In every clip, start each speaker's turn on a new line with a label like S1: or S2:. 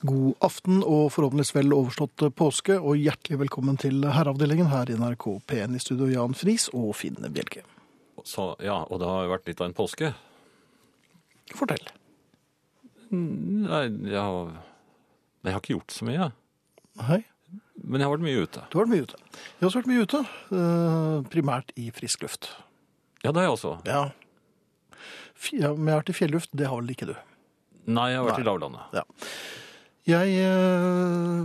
S1: God aften og forhåpentligvis vel overstått påske, og hjertelig velkommen til Herreavdelingen her i NRK P1 i studio, Jan Friis og Finn Bjelke.
S2: Så, ja, og det har jo vært litt av en påske.
S1: Fortell.
S2: Nei, jeg har, jeg har ikke gjort så mye.
S1: Hei,
S2: Men jeg har vært mye ute.
S1: du har vært mye ute. Jeg har også vært mye ute, eh, primært i frisk luft.
S2: Ja, det har jeg også.
S1: Ja. F- ja, Men jeg har vært i fjelluft, det har vel ikke du?
S2: Nei, jeg har vært i lavlandet.
S1: Ja. Jeg eh,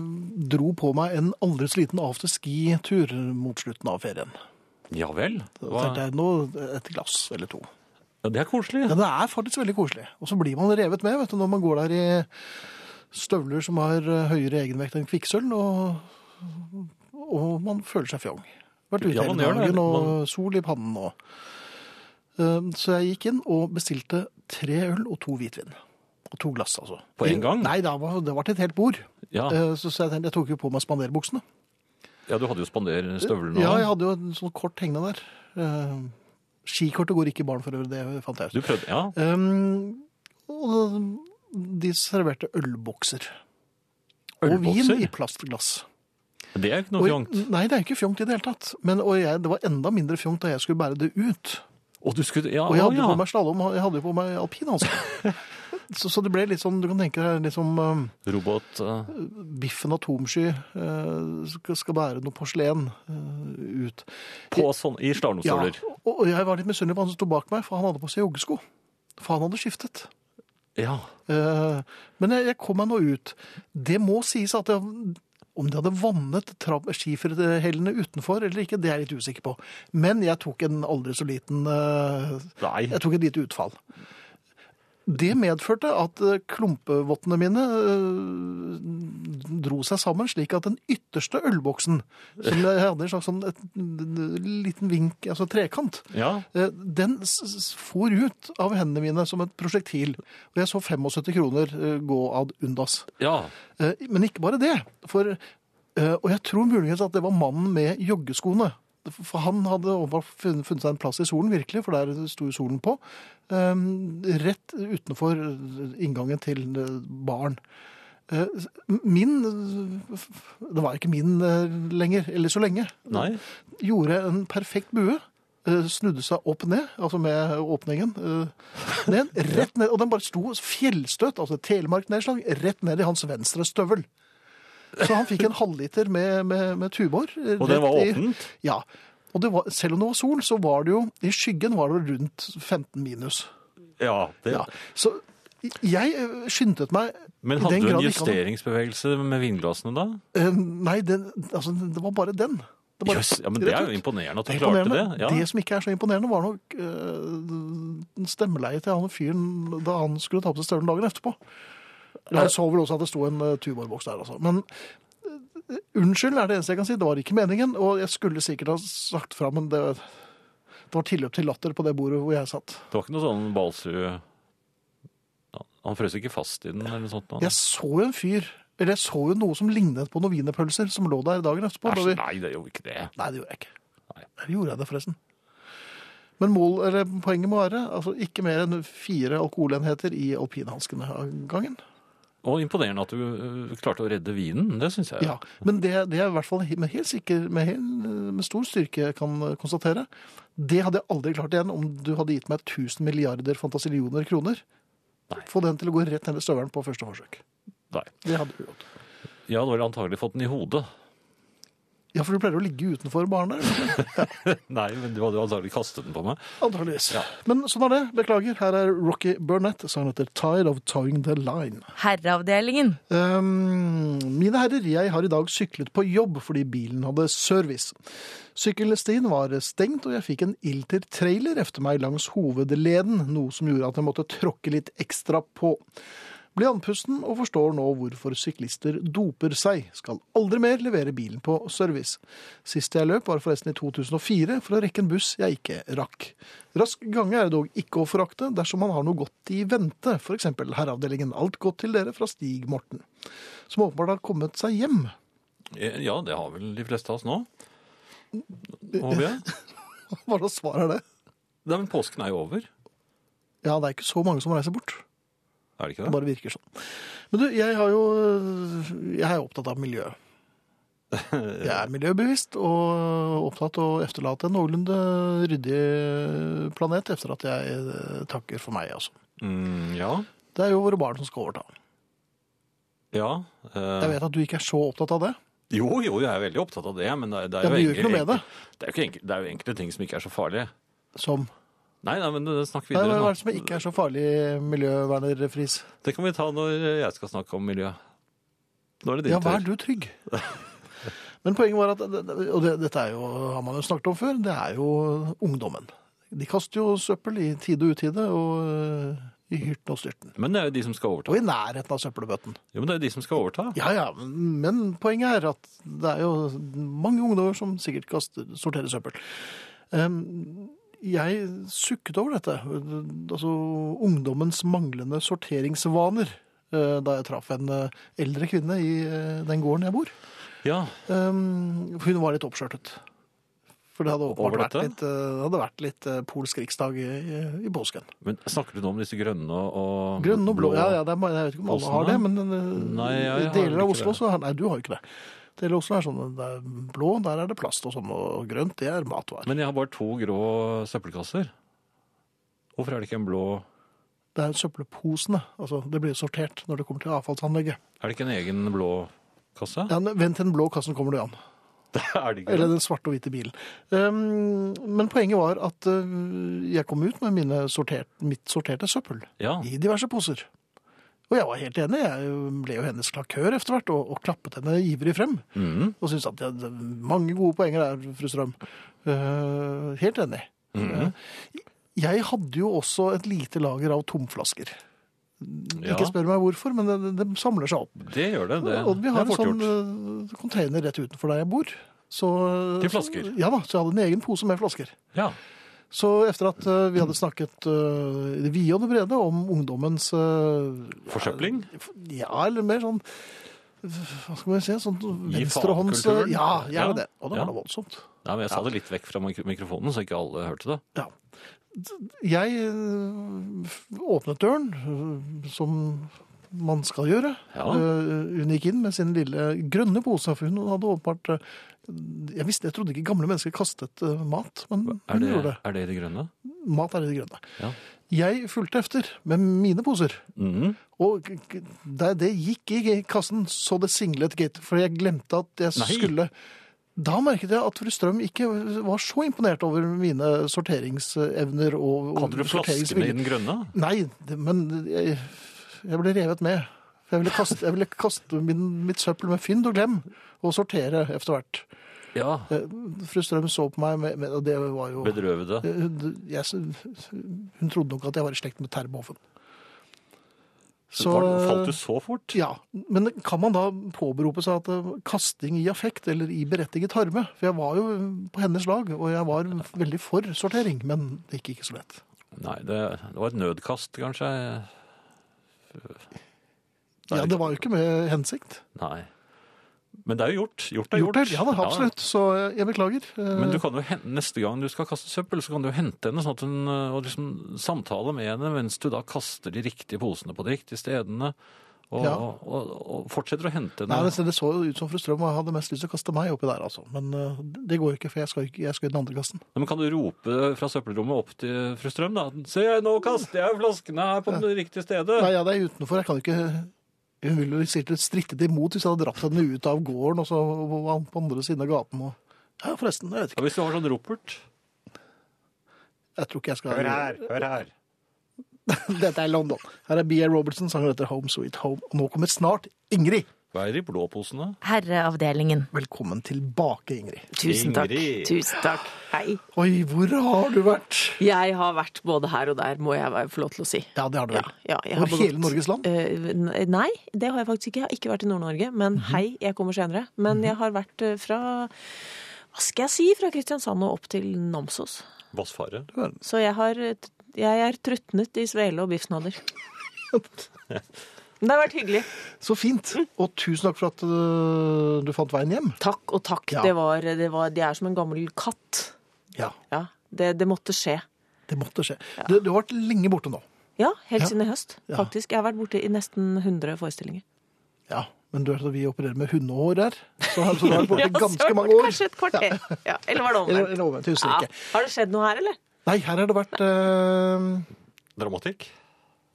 S1: dro på meg en aldri så liten afterski-tur mot slutten av ferien.
S2: Ja vel?
S1: Så
S2: Hva?
S1: tenkte jeg nå et glass eller to.
S2: Ja, det er koselig.
S1: Ja, det er faktisk veldig koselig. Og så blir man revet med vet du, når man går der i støvler som har eh, høyere egenvekt enn kvikksølv, og, og man føler seg fjong. Vært ute
S2: Ja,
S1: hele
S2: man gjør det.
S1: dagen, og sol i pannen og Eh, Så jeg gikk inn og bestilte tre øl og to hvitvin. Og to glass, altså.
S2: På en gang?
S1: Nei, det var, det var til et helt bord.
S2: Ja,
S1: Eh, Så, så jeg tenkte, jeg tok jo på meg spanderbuksene.
S2: ja du hadde jo spanderstøvlene
S1: Ja, jeg
S2: òg.
S1: hadde jo en sånn kort hengende der. Eh, Skikortet går ikke i barn for øvrig, det fant jeg ut.
S2: Du prøvde, ja.
S1: Um, og de serverte ølbokser. Og
S2: Ølbokser?
S1: vin i plastglass.
S2: Det er jo ikke
S1: Og-
S2: noe fjongt.
S1: Nei, det er ikke fjongt i det hele tatt. Men, og jeg, det var enda mindre fjongt da jeg skulle bære det ut.
S2: Og du skulle Ja,
S1: Og jeg
S2: å,
S1: hadde jo
S2: ja.
S1: på meg slalåm, og jeg hadde jo på meg alpinhansker. så, så det ble litt sånn, du kan tenke deg liksom um,
S2: robot eh,
S1: Biffen Atomsky eh, skal, skal bære noe porselen eh, ut.
S2: på sånn i slalåmstøvler.
S1: Ja, og, og jeg var litt misunnelig på han som sto bak meg, for han hadde på seg joggesko. For han hadde skiftet.
S2: Ja.
S1: Eh, Men jeg, jeg kom meg nå ut. Det må sies at jeg, om de hadde vannet trapp- skiferhellene utenfor eller ikke, det er jeg litt usikker på. Men jeg tok en aldri så liten eh,
S2: Nei.
S1: Jeg tok et lite utfall. Det medførte at eh, klumpevottene mine eh, dro seg sammen, slik at den ytterste ølboksen, som jeg hadde en slags sånn et, liten vink, altså trekant,
S2: Ja.
S1: Eh, Den s- s- for ut av hendene mine som et prosjektil. Og jeg så 75 kroner eh, gå ad undas.
S2: ja.
S1: Eh, Men ikke bare det. For, eh, og jeg tror muligens at det var mannen med joggeskoene. For han hadde åpenbart funn- funnet seg en plass i solen, virkelig, for der sto jo solen på. eh, Rett utenfor inngangen til eh, baren. Eh, Min eh, f- f- Det var ikke min eh, lenger, eller så lenge
S2: Nei.
S1: gjorde en perfekt bue. eh, Snudde seg opp ned, altså med åpningen. eh, Ned, rett ned, og den bare sto fjellstøt, altså telemarknedslag, rett ned i hans venstre støvel. Så han fikk en halvliter med, med, med tubor. eh,
S2: Og den var
S1: rett i-
S2: åpent?
S1: Ja. Og det var, selv om det var sol, så var det jo I skyggen var det rundt 15 minus.
S2: Ja. Det.
S1: Ja. Så jeg eh, skyndte meg
S2: Men
S1: i
S2: hadde
S1: den
S2: du
S1: grad
S2: en
S1: ikke han-
S2: justeringsbevegelse med vinglassene da?
S1: Eh, Nei, den, altså, det var bare den. Det bare-
S2: Jøss, ja, men
S1: rett
S2: det er
S1: ut.
S2: jo imponerende at du
S1: Det er
S2: klarte det.
S1: imponerende.
S2: Ja.
S1: Det som ikke er så imponerende, var nok øh, stemmeleiet til han fyren da han skulle ta på seg støvelen dagen etterpå. Eller Han så vel også at det sto en uh, tuborboks der, altså. Men øh, unnskyld er det eneste jeg kan si. Det var ikke meningen, og jeg skulle sikkert ha sagt fra, men det, det var tilløp til latter på det bordet hvor jeg satt.
S2: Det var ikke noe sånn balsu... Ja, Han frøs ikke fast i den eller noe sånt? Han.
S1: Jeg så jo en fyr, eller jeg så jo noe som lignet på noen wienerpølser som lå der dagen etterpå. da
S2: Æsj,
S1: vi-
S2: nei, det er jo ikke det.
S1: Nei, det gjorde jeg ikke.
S2: Nei.
S1: Eller gjorde jeg det, forresten? Men mål, eller poenget må være altså ikke mer enn fire alkoholenheter i alpinhanskene av gangen.
S2: Og imponerende at du øh, klarte å redde vinen, det syns jeg.
S1: Ja, Men det, det jeg i hvert fall med, helt sikker, med, helt, med stor styrke kan eh, konstatere, det hadde jeg aldri klart igjen om du hadde gitt meg 1000 milliarder fantasillioner kroner.
S2: Nei.
S1: Få den til å gå rett ned i støvelen på første forsøk.
S2: Nei.
S1: Det hadde du gjort.
S2: Jeg hadde vel antagelig fått den i hodet.
S1: Ja, for du pleier å ligge utenfor baren der. eller?
S2: Nei, men du hadde jo antagelig kastet den på meg.
S1: Antakeligvis. Men sånn er det. Beklager. Her er Rocky Burnett, sangen heter 'Tide of Towing the Line'.
S3: Herreavdelingen.
S1: Ehm, mine herrer, jeg har i dag syklet på jobb fordi bilen hadde service. Sykkelstien var stengt, og jeg fikk en ilter-trailer efter meg langs hovedleden, noe som gjorde at jeg måtte tråkke litt ekstra på. Ble andpusten og forstår nå hvorfor syklister doper seg. Skal aldri mer levere bilen på service. Sist jeg løp var forresten i 2004 for å rekke en buss jeg ikke rakk. Rask gange er dog ikke å forakte dersom man har noe godt i vente, f.eks. Herreavdelingen Alt godt til dere fra Stig Morten, som åpenbart har kommet seg hjem.
S2: Eh, Ja, det har vel de fleste av oss nå. Håper jeg.
S1: Hva slags svar er det?
S2: Nei, men påsken er jo over.
S1: Ja, det er ikke så mange som reiser bort.
S2: Er det ikke
S1: Det
S2: det?
S1: bare virker sånn. Men du, jeg har jo Jeg er opptatt av miljø. Jeg er miljøbevisst og opptatt av å efterlate en noenlunde ryddig planet etter at jeg eh, takker for meg, altså.
S2: Mm, ja.
S1: Det er jo våre barn som skal overta.
S2: Ja. eh,
S1: Jeg vet at du ikke er så opptatt av det.
S2: jo, jo, jeg er veldig opptatt av det, men det, er- det er
S1: Ja, men
S2: jo
S1: du gjør ikke noe med det.
S2: Det er jo, ikke enkel, det er jo enkelte ting som ikke er så farlige.
S1: Som
S2: Nei, nei, men eh, snakk
S1: Nei,
S2: videre.
S1: Hva
S2: nå.
S1: er det som ikke er så farlig, miljøverner Friis?
S2: Det kan vi ta når jeg skal snakke om miljø. Nå er det din
S1: Ja, vær
S2: tur.
S1: du trygg. Men poenget var at, og det, dette er jo, har man jo snakket om før, det er jo ungdommen. De kaster jo søppel i tide og utide, og øh, i hyrten og styrten.
S2: Men det er jo de som skal overta.
S1: Og i nærheten av søppelbøtten.
S2: Jo, men det er jo de som skal overta.
S1: Ja, ja, men poenget er at det er jo mange ungdommer som sikkert kaster, sorterer søppel. Ehm, Jeg sukket over dette, altså ungdommens manglende sorteringsvaner, eh, da jeg traff en eh, eldre kvinne i eh, den gården jeg bor.
S2: Ja,
S1: Um, hun var litt oppskjørtet. For det hadde åpenbart
S2: Over
S1: vært
S2: dette?
S1: litt, eh, hadde vært litt eh, polsk riksdag i, i påsken.
S2: men snakker du nå om disse grønne og
S1: Grønn og blå, ja, ja det er, ma- jeg vet ikke om alle har det,
S2: Åsene?
S1: men eh,
S2: Nei, jeg
S1: i
S2: har
S1: deler av
S2: ikke
S1: Oslo
S2: det.
S1: så har Nei, du har jo ikke det. Deler av Oslo er sånn det er blå, der er det plast og sånn, og grønt, det er matvarer.
S2: Men jeg har bare to grå søppelkasser. Hvorfor er det ikke en blå
S1: Det er søppelposene. Altså, det blir sortert når det kommer til avfallsanlegget.
S2: Er det ikke en egen blå kasse?
S1: Ja, vent til den blå kassen kommer du an.
S2: Det er det ikke.
S1: Eller den svarte og hvite bilen. Um, men poenget var at eh, jeg kom ut med mine sortert, mitt sorterte søppel.
S2: Ja.
S1: i diverse poser. Og jeg var helt enig. Jeg ble jo hennes klakør etter hvert, og, og klappet henne ivrig frem.
S2: Mm.
S1: Og syntes at det er mange gode poenger der, fru Strøm. Eh, helt enig.
S2: Mhm.
S1: Jeg hadde jo også et lite lager av tomflasker.
S2: ja.
S1: Ikke spør meg hvorfor, men det, det samler seg opp.
S2: Det gjør det. Det,
S1: og vi
S2: det
S1: har
S2: er
S1: en
S2: fort
S1: sånn
S2: gjort.
S1: eh, container rett utenfor der jeg bor. Så,
S2: Til flasker?
S1: Så, ja da, så jeg hadde en egen pose med flasker.
S2: Ja.
S1: Så etter at eh, vi hadde snakket eh, i det vide og det brede om ungdommens eh,
S2: Forsøpling?
S1: Ja, eller mer sånn Hva skal man si? Sånn venstrehånds
S2: faen-kulturen.
S1: Ja, gjerne
S2: Ja.
S1: det. Og det
S2: Ja.
S1: var da voldsomt.
S2: Nei, men jeg sa det litt vekk fra mikro- mikrofonen, så ikke alle hørte det.
S1: Ja. Jeg øh, åpnet døren, øh, som man skal gjøre.
S2: Ja.
S1: Øh, Hun gikk inn med sin lille grønne pose, for hun hadde åpenbart øh, Jeg visste, jeg trodde ikke gamle mennesker kastet øh, mat, men
S2: Er
S1: hun
S2: det
S1: gjorde det.
S2: er det i det grønne?
S1: Mat er i det grønne.
S2: Ja.
S1: Jeg fulgte efter med mine poser.
S2: Mhm.
S1: Og k- k- det, det gikk i kassen, så det singlet, gitt. For jeg glemte at jeg
S2: Nei.
S1: skulle Da merket jeg at fru Strøm ikke var så imponert over mine sorteringsevner og, og
S2: Hadde du flaskene i
S1: sorteringsvilje.
S2: den grønne?
S1: Nei, det- men jeg, jeg ble revet med. For Jeg ville kaste, jeg ville kaste min, mitt søppel med fynd og glem, og sortere etter hvert.
S2: Ja.
S1: Eh, Fru Strøm så på meg, med, med, og det var jo
S2: Bedrøvede.
S1: hun, Eh, jeg, hun trodde nok at jeg var i slekt med Terboven.
S2: Så, falt du så fort?
S1: Ja, men kan man da påberope seg at eh, kasting i affekt eller i berettiget harme? For jeg var jo eh, på hennes lag, og jeg var veldig for sortering, men det gikk ikke så lett.
S2: Nei, det, det var et nødkast, kanskje.
S1: Ja, det var jo ikke med hensikt.
S2: Nei. Men det er jo gjort. Gjort er gjort.
S1: Gjort det, ja da, absolutt. Så jeg- jeg beklager. Eh,
S2: Men du kan jo hen- neste gang du skal kaste søppel, så kan du jo hente henne sånn at hun, øh, og liksom samtale med henne mens du da kaster de riktige posene på de riktige stedene. Og,
S1: Ja.
S2: og, og, og fortsetter å hente
S1: Nei,
S2: henne.
S1: det det så jo ut som fru Strøm hadde mest lyst til å kaste meg oppi der, altså. Men eh, det går jo ikke, for jeg skal, jo ikke, jeg skal i den andre kassen.
S2: Nei, Men kan du rope fra søppelrommet opp til fru Strøm, da? Se, nå kaster jeg flaskene her på det riktige stedet!
S1: Nei, ja, det er utenfor. Jeg kan jo ikke Hun ville jo sikkert strittet imot hvis jeg hadde dratt henne ut av gården og så og på andre siden av gaten. Og... Ja, forresten. Jeg vet
S2: Ja,
S1: ikke.
S2: hvis du har sånn ropert
S1: Jeg tror ikke jeg skal
S2: hør her.
S1: Dette er London. Her er Bia Robertson, sanger etter Home Sweet Home. Og nå kommer snart Ingrid.
S2: Hva er de blå posene?
S3: Herreavdelingen.
S1: Velkommen tilbake, Ingrid.
S3: Tusen takk.
S2: Ingrid.
S4: Tusen takk. Hei.
S1: Oi, hvor har du vært?
S4: Jeg har vært både her og der, må jeg være- få lov til å si.
S1: Ja, det har du vel.
S4: Ja, jeg har
S1: Over hele
S4: begått-
S1: Norges land?
S4: Eh, n- nei, det har jeg faktisk ikke. Jeg har ikke vært i Nord-Norge. Men
S1: Mhm.
S4: hei, jeg kommer senere. Men jeg har vært eh, fra Hva skal jeg si? Fra Kristiansand og opp til Namsos.
S2: Vassfare.
S4: Så jeg har eh, t- Jeg er trutnet i svele og biffsnadder. Men det har vært hyggelig.
S1: Så fint. Og tusen takk for at øh, du fant veien hjem.
S4: Takk og takk.
S1: Ja.
S4: Det var, det var De er som en gammel katt.
S1: Ja,
S4: Ja. Det, det måtte skje.
S1: det måtte skje. Du, du har vært lenge borte nå.
S4: Ja, helt
S1: Ja.
S4: siden i høst.
S1: Ja.
S4: Faktisk. Jeg har vært borte i nesten 100 forestillinger.
S1: Ja, men du vet at vi opererer med hundehår her, så har så du vært borte
S4: Ja, så har
S1: ganske
S4: det
S1: mange år.
S4: Kanskje et kvarter. Ja. Eller var det
S1: Eller,
S4: omvendt?
S1: eller omvendt, husker
S4: Ja.
S1: jeg ikke.
S4: Har det skjedd noe her, eller?
S1: Nei, her har det vært eh,
S2: Dramatikk.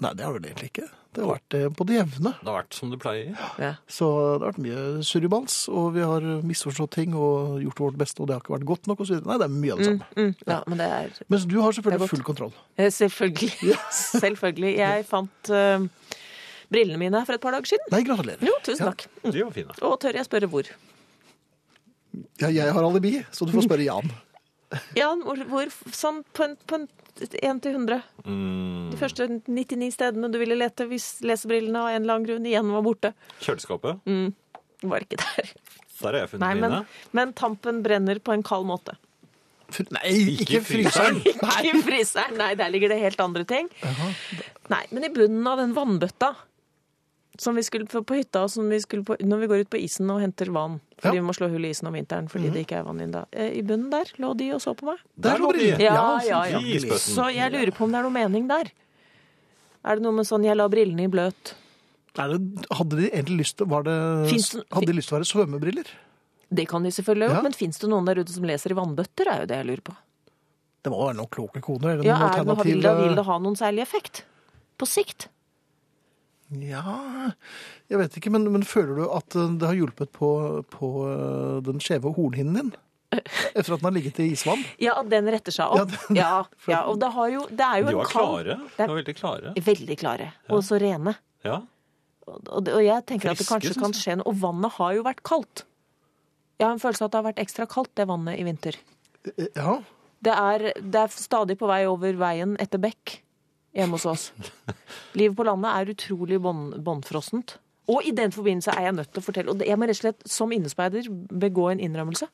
S1: Nei, det har det vel egentlig ikke. Det har vært eh, på det jevne.
S2: Det har vært som det pleier.
S4: Ja.
S1: Så det har vært mye surribals, og vi har misforstått ting og gjort vårt beste, og det har ikke vært godt nok, og så videre. Nei, det er mye av det samme.
S4: Mm, ja, men det er
S1: Mens du har
S4: Det er
S1: selvfølgelig
S4: godt.
S1: full kontroll.
S4: eh, Selvfølgelig. Selvfølgelig. Jeg fant eh, brillene mine for et par dager siden.
S1: Nei, gratulerer.
S4: Jo, tusen takk.
S2: De var fine.
S4: Og tør jeg spørre hvor?
S1: Ja, jeg har alibi, så du får spørre Jan.
S4: Jan, hvor, hvor sånn på en, på en 1 til 100.
S2: Mm,
S4: De første 99 stedene du ville lete hvis lesebrillene av en eller annen grunn igjen var borte.
S2: kjøleskapet.
S4: Var ikke der.
S2: Der har jeg funnet
S4: Mm. Nei, men,
S2: mine.
S4: men tampen brenner på en kald måte.
S1: Fr- Nei, ikke
S2: i
S1: fryseren!
S4: Ikke i fryseren. Nei, der ligger det helt andre ting. Nei, men i bunnen av den vannbøtta som vi skulle på, på hytta, og som vi skulle på, når vi går ut på isen og henter vann. Fordi
S1: Ja.
S4: vi må slå hull i isen om vinteren fordi det ikke er vann inne da. Eh, I bunnen der lå de og så på meg.
S1: Der
S2: Der lå
S1: lå
S2: de.
S1: brillene.
S4: Ja, ja, ja.
S1: selvfølgelig.
S2: Fy spøtten.
S4: Så jeg lurer på om det er noe mening der. Er det noe med sånn 'jeg la brillene i bløt'?
S1: Er det, hadde de egentlig lyst til, var det,
S4: Finns det-
S1: hadde de lyst til å være svømmebriller?
S4: Det kan de selvfølgelig ha gjort,
S1: Ja.
S4: men fins det noen der ute som leser i vannbøtter? er jo det jeg lurer på.
S1: Det må være noen kloke koner. Eller
S4: Ja,
S1: noen
S4: er det noe, vil, det, vil det ha noen særlig effekt? På sikt?
S1: Ja, jeg vet ikke, men, men føler du at eh, det har hjulpet på, på eh, den skjeve hornhinnen din? Etter at den har ligget i isvann?
S4: Ja, at den retter seg
S1: Ja,
S4: opp.
S1: den-
S4: Ja, ja, og det, har jo, det er jo
S2: De
S4: en
S2: var
S4: kald
S2: klare.
S4: Det
S2: De
S4: er
S2: var veldig klare.
S4: Veldig klare, og så rene.
S2: Ja.
S4: Og, og det- og jeg tenker at det
S2: Friske,
S4: kanskje
S2: synes
S4: kan
S2: jeg.
S4: skje noe. Og vannet har jo vært kaldt. Jeg har en følelse av at det har vært ekstra kaldt, det vannet, i vinter.
S1: Eh, Ja,
S4: Det er, det er stadig på vei over veien etter bekk hjemme hos oss. Livet på landet er utrolig bånd- båndfrossent. Og i den forbindelse er jeg nødt til å fortelle, og det- jeg må rett og slett som innespeider begå en innrømmelse.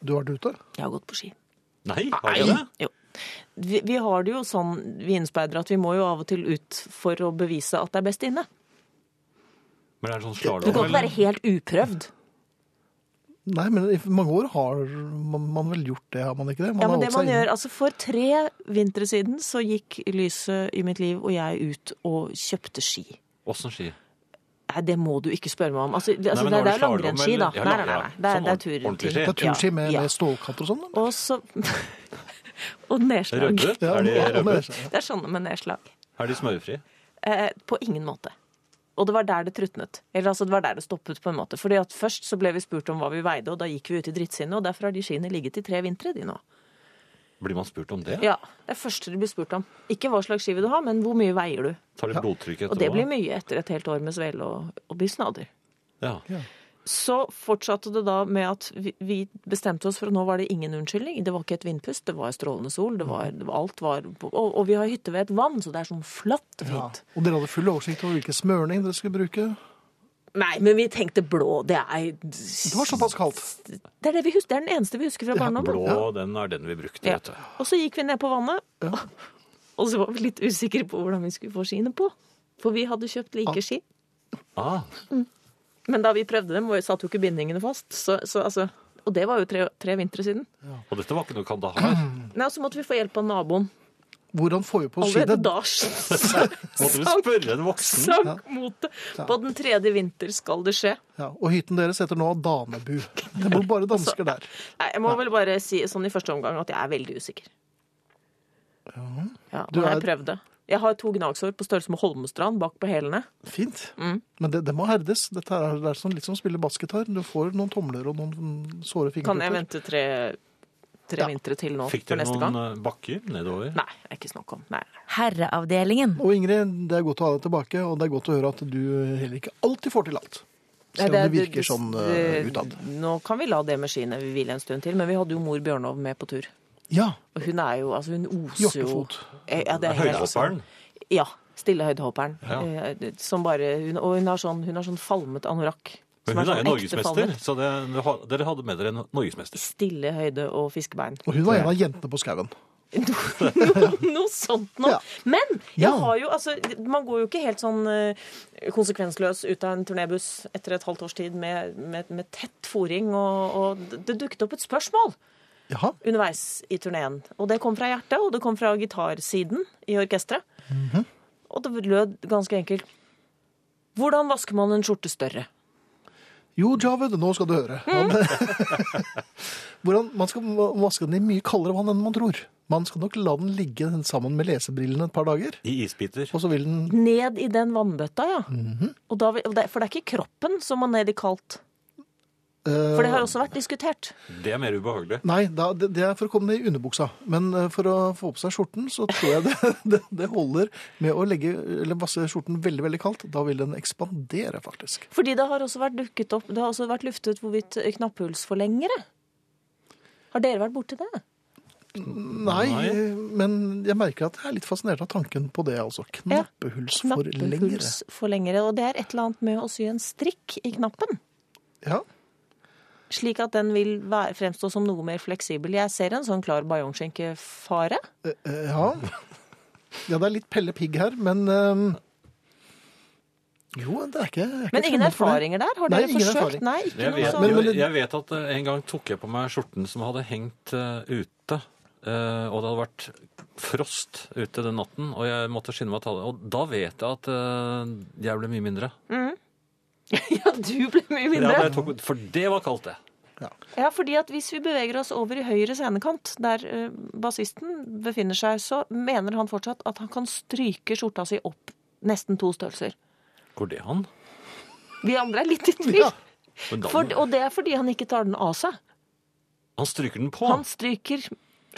S1: du har vært ute?
S4: Jeg har gått på ski.
S2: Nei, har de det?
S4: Jo. Vi, vi har det jo sånn, vi innspeidere, at vi må jo av og til ut for å bevise at det er best inne.
S2: Men det er sånn
S4: Du kan
S2: slalåm,
S4: ikke være helt uprøvd.
S1: Nei, men i mange år har man, man vel gjort det, har man ikke det? Man
S4: Ja,
S1: har
S4: men det
S1: holdt seg
S4: man
S1: inne.
S4: gjør, altså For tre vintre siden så gikk lyset i mitt liv og jeg ut og kjøpte ski.
S2: Åssen ski?
S4: Nei, det må du ikke spørre meg om. Altså, det- altså,
S2: men
S4: det,
S2: var
S4: det
S2: det
S4: er langrennsski, da.
S2: slalom, eller? Ja,
S4: Nei, nei, nei,
S2: ja.
S4: nei. Det er,
S2: Sånn
S4: det er
S2: ordentlig-
S4: turting.
S2: ordentlig
S1: Det er turski med,
S4: Ja.
S1: med stålkatter og sånn? da?
S4: Og så Og nedslag.
S2: Rødde?
S1: Ja,
S2: Er de
S1: og- og med
S2: rødde?
S1: det seg, ja.
S4: Det er sånne med nedslag.
S2: Er de smørfri?
S4: Eh, på ingen måte. Og det var der det trutnet. Eller altså, det var der det stoppet, på en måte. Fordi at først så ble vi spurt om hva vi veide, og da gikk vi ut i drittsinnet, og derfor har de skiene ligget i tre vintre, de nå.
S2: Blir man spurt om det?
S4: Ja, Det er første du blir spurt om. Ikke hva slags ski vil du ha, men hvor mye veier du?
S2: Tar de blodtrykk
S4: Og det
S2: etterpå?
S4: blir mye etter et helt år med svele og, og bysnader.
S2: Ja.
S4: Så fortsatte det da med at vi, vi bestemte oss for at nå var det ingen unnskyldning. Det var ikke et vindpust, det var strålende sol, det var, det var, alt var på, og, og vi har hytte ved et vann, så det er sånn flatt og
S1: Ja.
S4: fint.
S1: Og dere hadde full oversikt over hvilken smørning dere skulle bruke?
S4: Nei, men vi tenkte blå, det er
S1: Det var såpass kaldt.
S4: Det er, det, vi husker, det er den eneste vi husker fra barndommen.
S2: Blå, den er den vi brukte,
S4: Ja.
S2: vet du.
S4: Og så gikk vi ned på vannet, og så var vi litt usikre på hvordan vi skulle få skiene på. For vi hadde kjøpt like ski.
S2: Ah,
S4: Men da vi prøvde dem, var- satt jo ikke bindingene fast. Så, så, altså, og det var jo tre, tre vintre siden.
S2: og dette var ikke noe kandahar.
S4: Nei, Og så måtte vi få hjelp av naboen.
S1: Hvordan får vi på
S4: Allerede
S1: skiene?
S4: da sank,
S2: Måtte du spørre en voksen?
S4: sank motet. På den tredje vinter skal det skje.
S1: Ja, og hytten deres heter nå Danebu. Det bor bare
S4: Altså,
S1: dansker der.
S4: Nei, jeg må vel bare si sånn i første omgang at jeg er veldig usikker. Ja,
S1: Du
S4: men jeg
S1: er-
S4: prøvde. Jeg har to gnagsår på størrelse med Holmestrand bak på hælene.
S1: Fint. Men det, det må herdes. Dette er, det er sånn, litt som å spille basket her. Du får noen tomler og noen såre
S4: Kan
S1: fingerputter.
S4: jeg vente tre, tre
S1: Ja.
S4: vintre til nå
S2: Fikk
S4: for
S2: dere
S4: neste
S2: noen
S4: gang?
S2: eh, bakker nedover?
S4: Nei, det er ikke snakk om. Nei.
S3: Herreavdelingen.
S1: Og Ingrid, det er godt å ha deg tilbake, og det er godt å høre at du heller ikke alltid får til alt. Selv om det, virker sånn eh, utad.
S4: Nå kan vi la det med skiene hvile en stund til, men vi hadde jo mor Bjørnov med på tur.
S1: Ja.
S4: Og hun er jo Altså, hun oser jo
S1: Hjortefot.
S4: Eh, Ja, det er helt-
S2: Høydehopperen?
S4: Ja. Stille høydehopperen.
S2: Ja.
S4: Eh, Som bare, hun, og hun har, sånn, hun har sånn falmet anorakk. som
S2: Men hun er jo
S4: sånn ekte
S2: norgesmester,
S4: falmet.
S2: så det, du har- dere hadde med dere en norgesmester.
S4: Stille høyde og fiskebein.
S1: Og hun var en av jentene på skauen.
S4: Noe sånt noe.
S1: Ja.
S4: Men
S1: Ja.
S4: jeg har jo, altså, man går jo ikke helt sånn eh, konsekvensløs ut av en turnébuss etter et halvt års tid med, med, med tett fòring, og, og det dukket opp et spørsmål
S1: Jaha. Mhm.
S4: underveis i turneen. Og det kom fra hjertet, og det kom fra gitarsiden i orkesteret. Og det lød ganske enkelt Hvordan vasker man en skjorte større?
S1: Jo, Javed, nå skal du høre. Hvordan, man skal va- vaske den i mye kaldere vann enn man tror. Man skal nok la den ligge sammen med lesebrillene et par dager,
S2: I isbiter.
S1: og så vil den
S4: Ned i den vannbøtta, ja.
S1: Mhm.
S4: og da, vil- og det, for det er ikke kroppen som må ned i kaldt.
S1: eh,
S4: For det har også vært diskutert.
S2: Det er mer ubehagelig.
S1: Nei, da, det, det er for å komme ned i underbuksa. Men eh, for å få på seg skjorten, så tror jeg det, det, det holder med å legge, eller vasse skjorten veldig veldig kaldt. Da vil den ekspandere, faktisk.
S4: Fordi det har også vært dukket opp, det har også vært luftet hvorvidt knapphullsforlengere. Har dere vært borti det?
S1: Nei,
S2: Nei.
S1: eh, men jeg merker at jeg er litt fascinert av tanken på det, altså.
S4: Ja.
S1: Knappehullsforlengere.
S4: Knappehullsforlengere. Og det er et eller annet med å sy en strikk i knappen.
S1: Ja.
S4: Slik at den vil være, fremstå som noe mer fleksibel. Jeg ser en sånn klar bajonskinkefare.
S1: eh, eh, ja. Ja, det er litt Pelle Pigg her, men eh, Jo, det er ikke jeg er ikke
S4: Men
S1: fremmed
S4: ingen
S1: for det.
S4: erfaringer der? Har
S1: Nei,
S4: dere
S1: ingen
S4: forsøkt?
S1: erfaring.
S4: Nei, ikke
S2: Jeg
S4: noe
S2: vet,
S4: sånn.
S1: Men- men
S2: jo,
S1: det-
S2: jeg vet at eh, en gang tok jeg på meg skjorten som hadde hengt eh, ute. eh, og det hadde vært frost ute den natten, og jeg måtte skynde meg å ta det. Og da vet jeg at eh, jeg ble mye mindre.
S4: Ja, du ble mye
S2: Ja, da
S4: mindre.
S2: jeg tok, for det var kaldt, det.
S4: Ja, fordi at hvis vi beveger oss over i høyre scenekant, der eh, bassisten befinner seg, så mener han fortsatt at han kan stryke skjorta si opp nesten to størrelser.
S2: Går det an?
S4: Vi andre er litt i tvil.
S1: Ja.
S2: Men da-
S4: For, og det er fordi han ikke tar den av seg.
S2: han stryker den på.
S4: Han stryker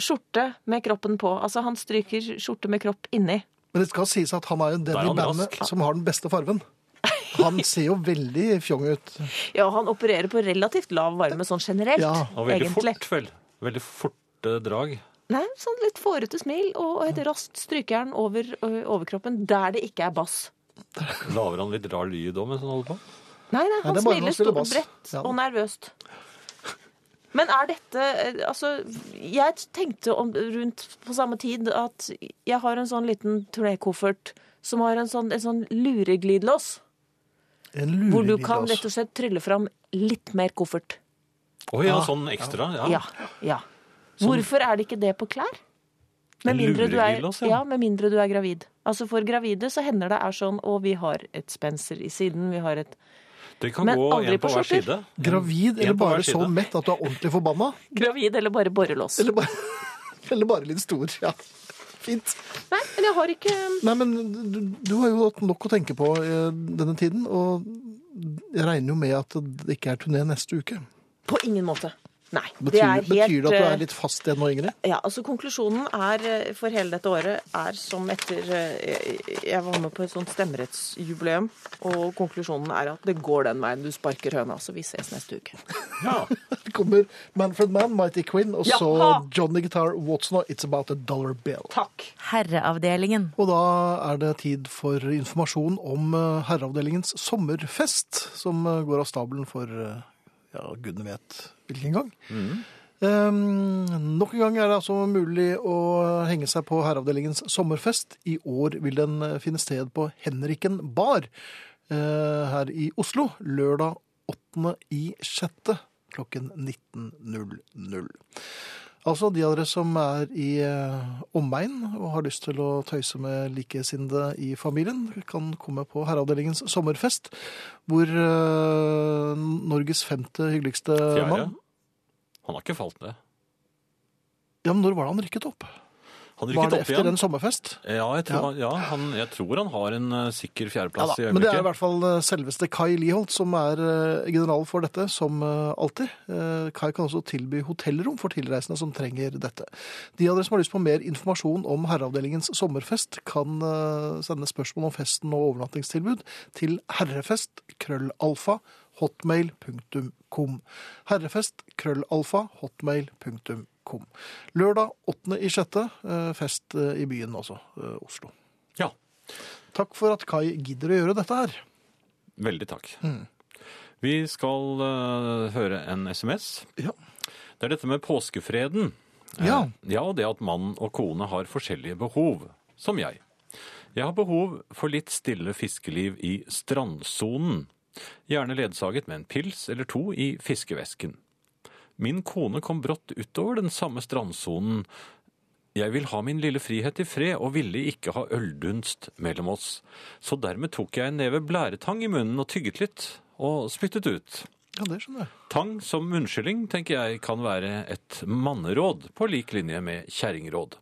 S4: skjorte med kroppen på. Altså han stryker skjorte med kropp inni.
S1: Men det skal sies at han er jo
S2: Da er
S1: den i
S2: han
S1: bandet
S2: rask.
S1: som har den beste farven. Han ser jo veldig fjong ut.
S4: Ja, han opererer på relativt lav varme sånn generelt,
S1: Ja,
S2: Og veldig
S4: egentlig.
S2: fort, vel. Veldig forte drag.
S4: Nei, sånn litt fårete smil, og et raskt stryker han over ø, overkroppen der det ikke er bass.
S2: Lager han litt rar lyd òg mens han holder på?
S4: Nei, nei,
S1: det er
S4: han
S1: bare
S4: smiler
S1: når han spiller
S4: stort,
S1: bass.
S4: bredt
S1: Ja.
S4: og nervøst. Men er dette eh, Altså, jeg tenkte om, rundt på samme tid at jeg har en sånn liten turnékoffert som har en sånn, en sånn lureglidelås,
S1: En
S4: hvor du
S1: luring,
S4: kan
S1: altså.
S4: rett og slett trylle fram litt mer koffert.
S2: Å ja, sånn ekstra.
S1: Ah.
S2: Ja.
S4: Ja. ja. Hvorfor er det ikke det på klær? Med
S2: En
S4: mindre, du er,
S2: lureglidelås, ja.
S4: ja, med mindre du er gravid. Altså For gravide så hender det er sånn Og vi har et spenser i siden, vi har et
S2: Det kan
S4: Men
S2: gå
S4: aldri
S2: en på
S4: på
S2: hver
S4: skjorter.
S2: side.
S1: Gravid, eller
S2: på hver
S1: bare
S2: side.
S1: så mett at du er ordentlig forbanna?
S4: Gravid eller bare borrelås.
S1: Eller bare, eller bare litt stor? Ja. Fint.
S4: Nei, men jeg har ikke
S1: Nei, men du, du har jo hatt nok å tenke på eh, denne tiden, og jeg regner jo med at det ikke er turné neste uke.
S4: På ingen måte. Nei.
S1: Betyr
S4: det
S1: det,
S4: er helt,
S1: betyr det at du
S4: eh,
S1: er litt fast igjen nå, Ingrid?
S4: Ja, altså Konklusjonen er eh, for hele dette året er som etter eh, Jeg var med på et sånt stemmerettsjubileum, og konklusjonen er at det går den veien. Du sparker høna, så vi ses neste uke.
S2: Ja.
S1: Det kommer Manfred Mann, Mighty Quinn, og så
S4: Jaha!
S1: Johnny Guitar Watson og It's About a Dollar Bill.
S4: Takk.
S3: Herreavdelingen.
S1: Og da er det tid for informasjon om eh, Herreavdelingens sommerfest, som eh, går av stabelen for eh, ja, gudene vet hvilken gang. Um, nok en gang er det altså mulig å henge seg på Herreavdelingens sommerfest. I år vil den eh, finne sted på Henriken bar eh, her i Oslo lørdag 8. i 6. klokken 19.00. Altså de av dere som er i eh, omegn og har lyst til å tøyse med likesinnede i familien, kan komme på Herreavdelingens sommerfest, hvor eh, Norges femte hyggeligste
S2: Fjerde.
S1: mann
S2: Han har ikke falt ned.
S1: ja, men Når var det han rykket opp? var
S2: Han rykket
S1: det
S2: opp
S1: efter
S2: igjen.
S1: en sommerfest?
S2: Ja, jeg tror,
S1: Ja.
S2: Han, ja han, jeg tror han har en eh, sikker
S1: Ja
S2: fjerdeplass
S1: da,
S2: i
S1: men det er i
S2: øyeblikket.
S1: hvert fall eh, selveste Kai Liholt som er eh, general for dette, som eh, alltid. Eh, Kai kan også tilby hotellrom for tilreisende som trenger dette. De av dere som har lyst på mer informasjon om Herreavdelingens sommerfest, kan eh, sende spørsmål om festen og overnattingstilbud til herrefest krøllalfa hotmail.com. Herrefest krøllalfa hotmail.com. Lørdag 8. i 6. Fest eh, i byen også, eh, Oslo.
S2: Ja,
S1: Takk for at Kai gidder å gjøre dette her.
S2: veldig takk.
S1: Mm.
S2: Vi skal eh, høre en SMS.
S1: Ja.
S2: Det er dette med påskefreden.
S1: Ja.
S2: Eh, ja, og det at mann og kone har forskjellige behov, som jeg. Jeg har behov for litt stille fiskeliv i strandsonen. Gjerne ledsaget med en pils eller to i fiskevesken. Min kone kom brått utover den samme strandsonen Jeg vil ha min lille frihet i fred og ville ikke ha øldunst mellom oss. Så dermed tok jeg en neve blæretang i munnen og tygget litt, og spyttet ut.
S1: Ja, det skjønner jeg.
S2: Tang som unnskyldning tenker jeg kan være et manneråd på lik linje med kjerringråd.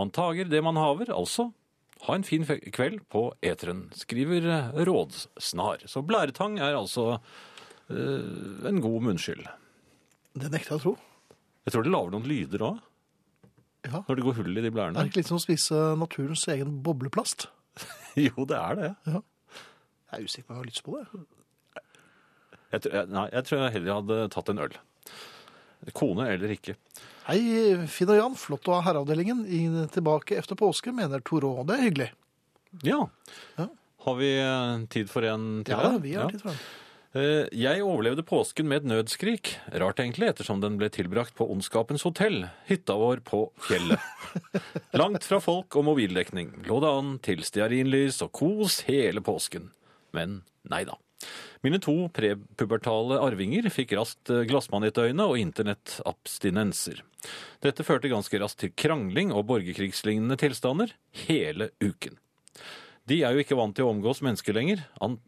S2: Man tager det man haver, altså. Ha en fin fe- kveld på eteren, skriver eh, Rådsnar. Så blæretang er altså eh, en god munnskyld.
S1: Det nekter jeg å tro.
S2: Jeg tror det lager noen lyder òg,
S1: Ja.
S2: når det går hull i de
S1: Er
S2: blærene.
S1: det ikke litt som å spise naturens egen bobleplast?
S2: Jo, det er det.
S1: Jeg er usikker på om jeg har lyst på det.
S2: Jeg tror, jeg- nei, jeg tror jeg heller hadde tatt en øl. Kone eller ikke.
S1: Hei, Finn og Jan. Flott å ha herreavdelingen i- tilbake etter påske, mener Torå. Det er hyggelig.
S2: Ja.
S1: Ja.
S2: Har vi eh, tid for en til?
S1: Ja,
S2: her?
S1: da, vi
S2: Ja.
S1: har tid for den.
S2: Eh, Jeg overlevde påsken med et nødskrik. Rart egentlig, ettersom den ble tilbrakt på Ondskapens hotell, hytta vår på fjellet. Langt fra folk og mobildekning lå det an til stearinlys og kos hele påsken. Men nei da. Mine to prepubertale arvinger fikk raskt eh, glassmanetøyne og internettabstinenser. Dette førte ganske raskt til krangling og borgerkrigslignende tilstander hele uken. De er jo ikke vant til å omgås mennesker lenger, an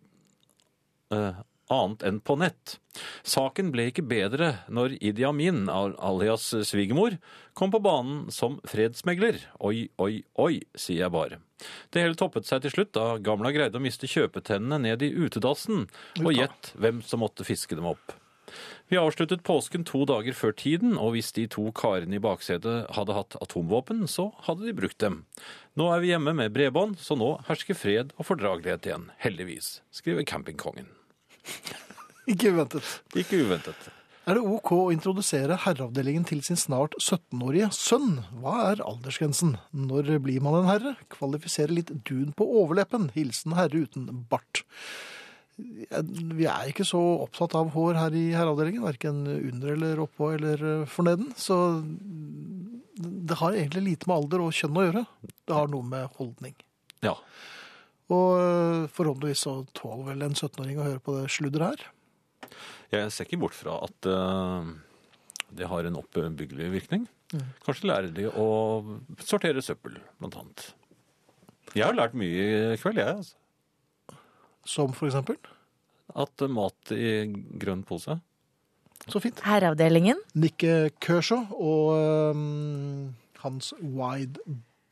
S2: eh, annet enn på nett. Saken ble ikke bedre når Idi Amin, al- alias svigermor, kom på banen som fredsmegler. Oi, oi, oi, sier jeg bare. Det hele toppet seg til slutt da gamla greide å miste kjøpetennene ned i utedassen, og gjett hvem som måtte fiske dem opp. Vi avsluttet påsken to dager før tiden, og hvis de to karene i baksetet hadde hatt atomvåpen, så hadde de brukt dem. Nå er vi hjemme med bredbånd, så nå hersker fred og fordragelighet igjen, heldigvis, skriver campingkongen.
S1: Ikke uventet.
S2: Ikke uventet.
S1: Er det OK å introdusere herreavdelingen til sin snart 17-årige sønn? Hva er aldersgrensen? Når blir man en herre? Kvalifisere litt dun på overleppen. Hilsen herre uten bart. Jeg- Vi er ikke så opptatt av hår her i herreavdelingen, verken under eller oppå eller eh, forneden. Så det har egentlig lite med alder og kjønn å gjøre. Det har noe med holdning.
S2: Ja.
S1: Og eh, forhåpentligvis så tåler vel en 17-åring å høre på det sludderet her.
S2: Jeg ser ikke bort fra at eh, det har en oppbyggelig virkning. Kanskje lærer de å sortere søppel, blant annet. Jeg har lært mye i kveld, jeg. Altså.
S1: Som for eksempel.
S2: At eh, mat i grønn pose
S1: Så fint.
S3: Herreavdelingen.
S1: Nick Kershaw og øhm, hans Wide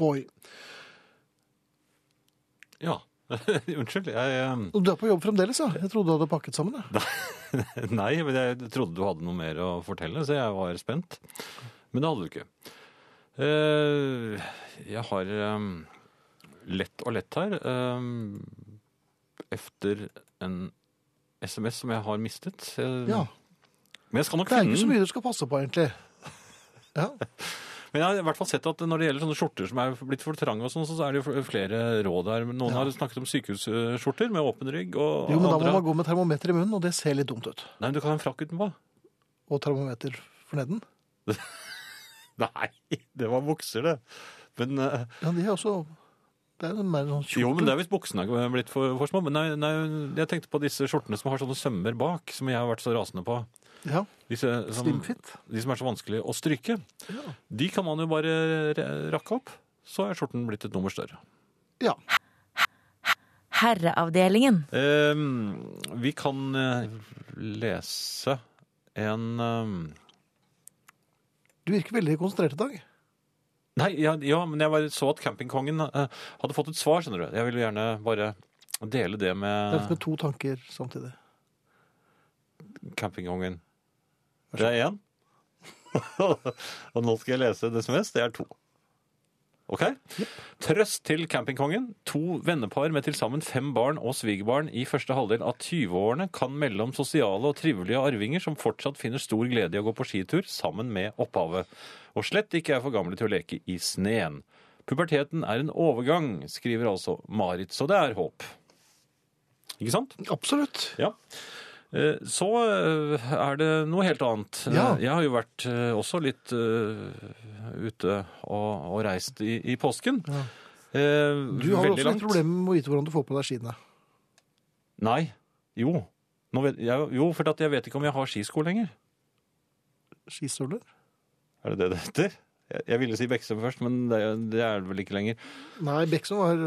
S1: Boy.
S2: Ja. Unnskyld. Jeg, eh,
S1: Du er på jobb fremdeles, ja? Jeg trodde du hadde pakket sammen. Ja.
S2: nei, men jeg trodde du hadde noe mer å fortelle, så jeg var spent. Men det hadde du ikke. Eh, jeg har eh, lett og lett her. eh, efter en SMS som jeg har mistet. Eh,
S1: ja.
S2: Men jeg skal nok
S1: Det er
S2: finne
S1: ikke så
S2: den.
S1: mye du skal passe på, egentlig. Ja,
S2: Men jeg har i hvert fall sett at når det gjelder sånne skjorter som er blitt for trange, og sånn, så er det jo flere råd her. Noen har snakket om sykehusskjorter med åpen rygg. og
S1: jo, men da må
S2: andre...
S1: man gå med termometer i munnen, og det ser litt dumt ut.
S2: Nei, men du kan ha en frakk utenpå.
S1: Og termometer for neden.
S2: Nei, det var bukser, det. Men, eh,
S1: Ja, de er også Det er mer en sånn kjortel.
S2: jo, men det er hvis buksene er blitt for, for små. Men nei, nei, jeg tenkte på disse skjortene som har sånne sømmer bak, som jeg har vært så rasende på.
S1: Ja,
S2: Disse, som,
S1: Slimfit.
S2: de som er så vanskelig å stryke.
S1: Ja.
S2: De kan man jo bare re- rakke opp. Så er skjorten blitt et nummer større.
S1: Ja.
S3: Herreavdelingen.
S2: Eh, vi kan eh, lese en eh,
S1: Du virker veldig konsentrert i dag.
S2: Nei, ja, ja, men jeg bare så at campingkongen eh, hadde fått et svar, skjønner du. Jeg ville gjerne bare dele det
S1: Det er
S2: med
S1: med to tanker samtidig.
S2: campingkongen. Det er én. Og nå skal jeg lese det som helst. Det er to. OK? Trøst til campingkongen. To vennepar med til sammen fem barn og svigerbarn i første halvdel av 20-årene kan melde om sosiale og trivelige arvinger som fortsatt finner stor glede i å gå på skitur sammen med opphavet, og slett ikke er for gamle til å leke i sneen. Puberteten er en overgang, skriver altså Marit, så det er håp. Ikke sant?
S1: Absolutt.
S2: Ja. Eh, Så eh, er det noe helt annet. Eh,
S1: Ja.
S2: Jeg har jo vært eh, også litt eh, ute og, og reist i, i påsken.
S1: Ja.
S2: Eh,
S1: Du har også
S2: veldig
S1: litt
S2: langt.
S1: problemer med å vite hvordan du får på deg skiene.
S2: Nei. Jo. Nå vet, jeg, jo, for at jeg vet ikke om jeg har skisko lenger.
S1: Skistøvler?
S2: Er det det det heter? Jeg, jeg ville si Beksøm først, men det, det er det vel ikke lenger.
S1: Nei, Beksum har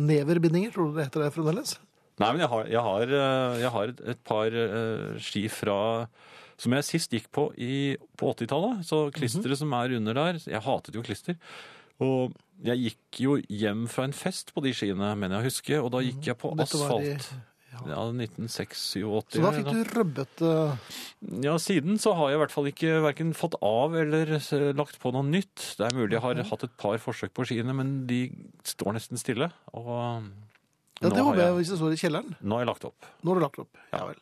S1: neverbindinger, tror du det heter det fremdeles?
S2: Nei, men jeg har, jeg har, eh, jeg har et, et par eh, ski fra som jeg sist gikk på i, på 80-tallet. Så
S1: Mhm.
S2: klisteret som er under der Jeg hatet jo klister. Og jeg gikk jo hjem fra en fest på de skiene, mener jeg å huske, og da gikk jeg på
S1: Mhm. Dette var i-
S2: asfalt. Ja, 1986-87.
S1: Så da fikk du eh, røbbete
S2: Ja, siden så har jeg i hvert fall ikke hverken fått av eller s- lagt på noe nytt. Det er mulig jeg har
S1: Mhm.
S2: hatt et par forsøk på skiene, men de står nesten stille. Og
S1: Ja, det
S2: nå, har
S1: håper jeg
S2: jeg,
S1: hvis det står i kjelleren.
S2: nå har jeg lagt opp.
S1: Nå har du lagt opp. Ja vel.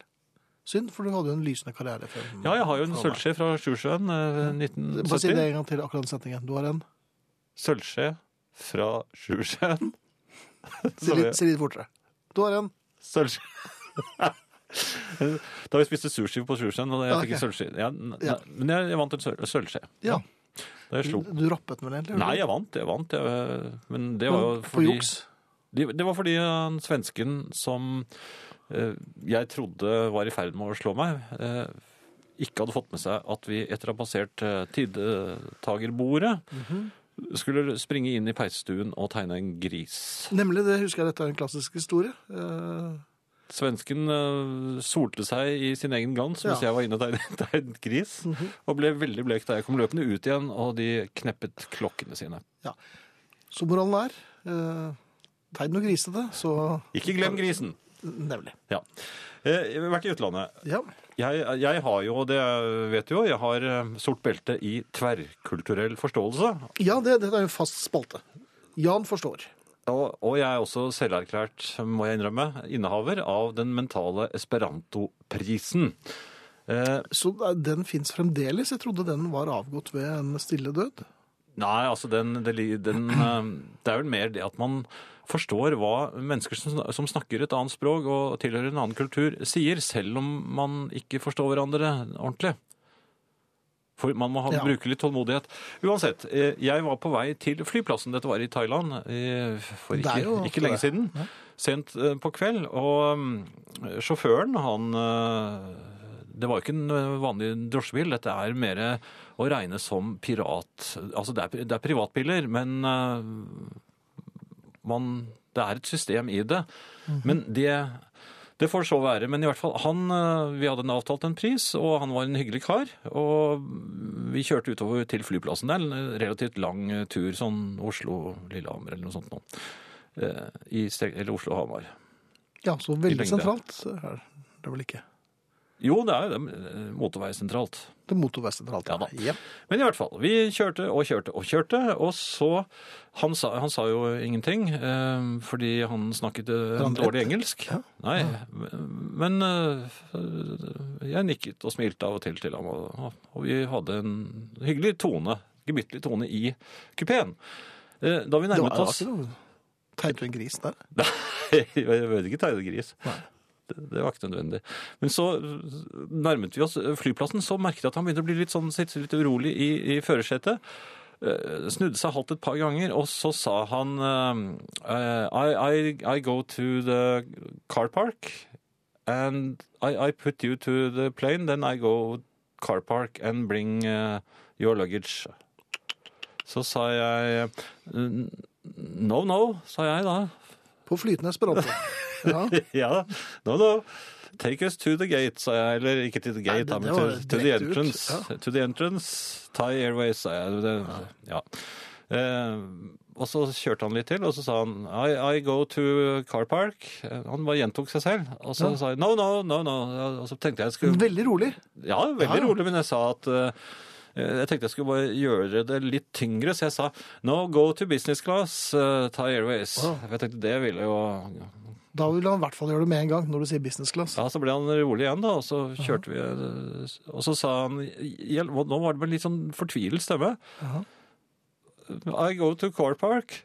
S1: Synd, for du hadde jo en lysende karriere. Før.
S2: Ja, jeg har jo en
S1: fra deg.
S2: sølvskje fra Sjusjøen, eh,
S1: Bare si det
S2: 1970.
S1: en gang til, akkurat den setningen. Du har en.
S2: Sølvskje fra Sjusjøen.
S1: Si
S2: Som
S1: litt,
S2: jeg-
S1: si litt fortere. Du har en.
S2: Sølvskje. Da vi spiste sushi på Sjusjøen, og jeg fikk en sølvskje. Ja, n-
S1: Ah, Ja.
S2: n- Men jeg, jeg vant en søl- sølvskje.
S1: Ja.
S2: Da jeg
S1: Du,
S2: slo.
S1: du rappet den vel egentlig?
S2: Nei, jeg vant, jeg vant. Jeg, men det
S1: Men
S2: var jo
S1: På
S2: fordi
S1: juks.
S2: De, det var fordi han svensken som eh, jeg trodde var i ferd med å slå meg, eh, ikke hadde fått med seg at vi etter å ha passert eh, tidetagerbordet, skulle springe inn i peisestuen og tegne en gris.
S1: Nemlig, det husker jeg dette er en klassisk historie. Eh,
S2: Svensken eh, solte seg i sin egen glans mens
S1: Ja.
S2: jeg var inne og tegnet, tegnet gris, og ble veldig blek da jeg kom løpende ut igjen, og de kneppet klokkene sine.
S1: så moralen er eh, Tegn og grisete, så
S2: Ikke glem grisen!
S1: Nemlig.
S2: Ja. Eh, Jeg har vært i utlandet.
S1: Ja.
S2: Jeg, jeg har jo, det vet du jo, jeg har eh, sort belte i tverrkulturell forståelse.
S1: ja, det, dette er jo en fast spalte. Jan forstår.
S2: Og, og jeg er også selverklært, må jeg innrømme, innehaver av den mentale Esperanto-prisen. Eh,
S1: Så den fins fremdeles? Jeg trodde den var avgått ved en stille død.
S2: nei, altså den, det, li- den eh, Det er vel mer det at man forstår hva mennesker som, sn- som snakker et annet språk og tilhører en annen kultur, sier, selv om man ikke forstår hverandre ordentlig. For man må ha,
S1: Ja.
S2: bruke litt tålmodighet. Uansett, eh, jeg var på vei til flyplassen. Dette var i Thailand eh, for
S1: Det er
S2: ikke,
S1: jo ofte
S2: ikke lenge
S1: det.
S2: siden. Sent eh, på kveld. Og mm, sjåføren, han eh, Det var jo ikke en eh, vanlig drosjebil. Dette er mer å regne som pirat. Altså, det er, pri- det er privatbiler, men eh, man Det er et system i det.
S1: Mhm.
S2: Men det det får så være, men i hvert fall han, eh, vi hadde en avtalt en pris, og han var en hyggelig kar. Og vi kjørte utover til flyplassen. Det er en relativt lang eh, tur, sånn Oslo-Lillehammer eller noe sånt nå. Eh, I, strek- eller Oslo-Hamar.
S1: Ja, så
S2: I
S1: veldig
S2: lengde.
S1: sentralt er det vel ikke.
S2: Jo, det er jo det, eh, motorvei sentralt.
S1: Det er motorveisentralt.
S2: Ja da.
S1: Jep.
S2: Men i hvert fall, vi kjørte og kjørte og kjørte, og så Han sa, han sa jo ingenting, eh, fordi han snakket eh,
S1: Var han
S2: dårlig
S1: trett?
S2: engelsk. Nei, men eh, jeg nikket og smilte av og til til ham, og, og vi hadde en hyggelig tone, gemyttlig tone, i kupeen. Eh, Da
S1: Det var
S2: vi nærmet
S1: det var
S2: oss
S1: ikke noe tegn på en gris der.
S2: Nei, jeg vet ikke tegne gris. Det, det var ikke nødvendig. Men så nærmet vi oss eh, flyplassen, så merket jeg at han begynte å bli litt sånn, sitte litt urolig i, i førersetet. Eh, Snudde seg halvt et par ganger, og så sa han eh, I, I, I go to the car park, and I, I put you to the plane, then I go car park and bring eh, your luggage. Så sa jeg eh, No, no, sa jeg da.
S1: På flytende esperanto. Ja.
S2: Ja, no, no. Take us to the gate, sa jeg. Eller ikke til the gate,
S1: det-
S2: da, men
S1: det var
S2: to, to the
S1: direkte ut,
S2: entrance.
S1: ja.
S2: To the entrance, Thai Airways, sa jeg. Det, ja. Eh, og så kjørte han litt til, og så sa han I, I go to car park. Eh, Han bare gjentok seg selv. Og så sa jeg no, no, no, no. Og så tenkte jeg jeg skulle
S1: Veldig rolig.
S2: ja, veldig rolig, men jeg sa at eh, jeg tenkte jeg skulle bare gjøre det litt tyngre, så jeg sa no, go to business class, eh, Thai Airways.
S1: Wow.
S2: For jeg tenkte det ville jo
S1: Da vil han i hvert fall gjøre det med en gang, når du sier business class.
S2: Ja, så ble han rolig igjen, da, og så kjørte vi eh, Og så sa han hjel- og Nå var det med litt sånn fortvilet stemme.
S1: Jaha.
S2: I go to Core Park.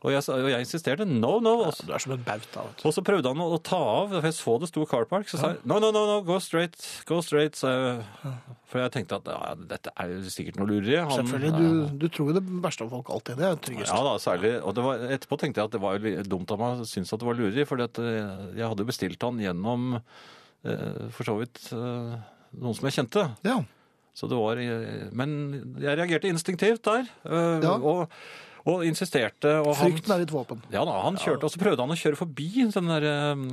S2: Og jeg, sa- og jeg insisterte. No, no. Og så,
S1: Du er som en bauta. vet du.
S2: og så prøvde han å, å ta av, for jeg så det sto Car Park. Så sa jeg no, no, no, no, go straight. Go straight. Så jeg, for jeg tenkte at ja, dette er jo sikkert noe lureri. Han-
S1: Selvfølgelig. Du, du tror jo det verste om folk alltid. Det er tryggest.
S2: ja da, særlig. Og det var, etterpå tenkte jeg at det var jo litt dumt av meg å synes at det var lureri, for jeg hadde jo bestilt han gjennom eh, for så vidt eh, noen eh, som jeg kjente.
S1: Ja.
S2: Så det var, eh, men jeg reagerte instinktivt der, eh,
S1: Ja.
S2: og, og insisterte. Og han-
S1: Frykten er ditt våpen.
S2: Ja da, han kjørte, og så prøvde han å kjøre forbi den der eh,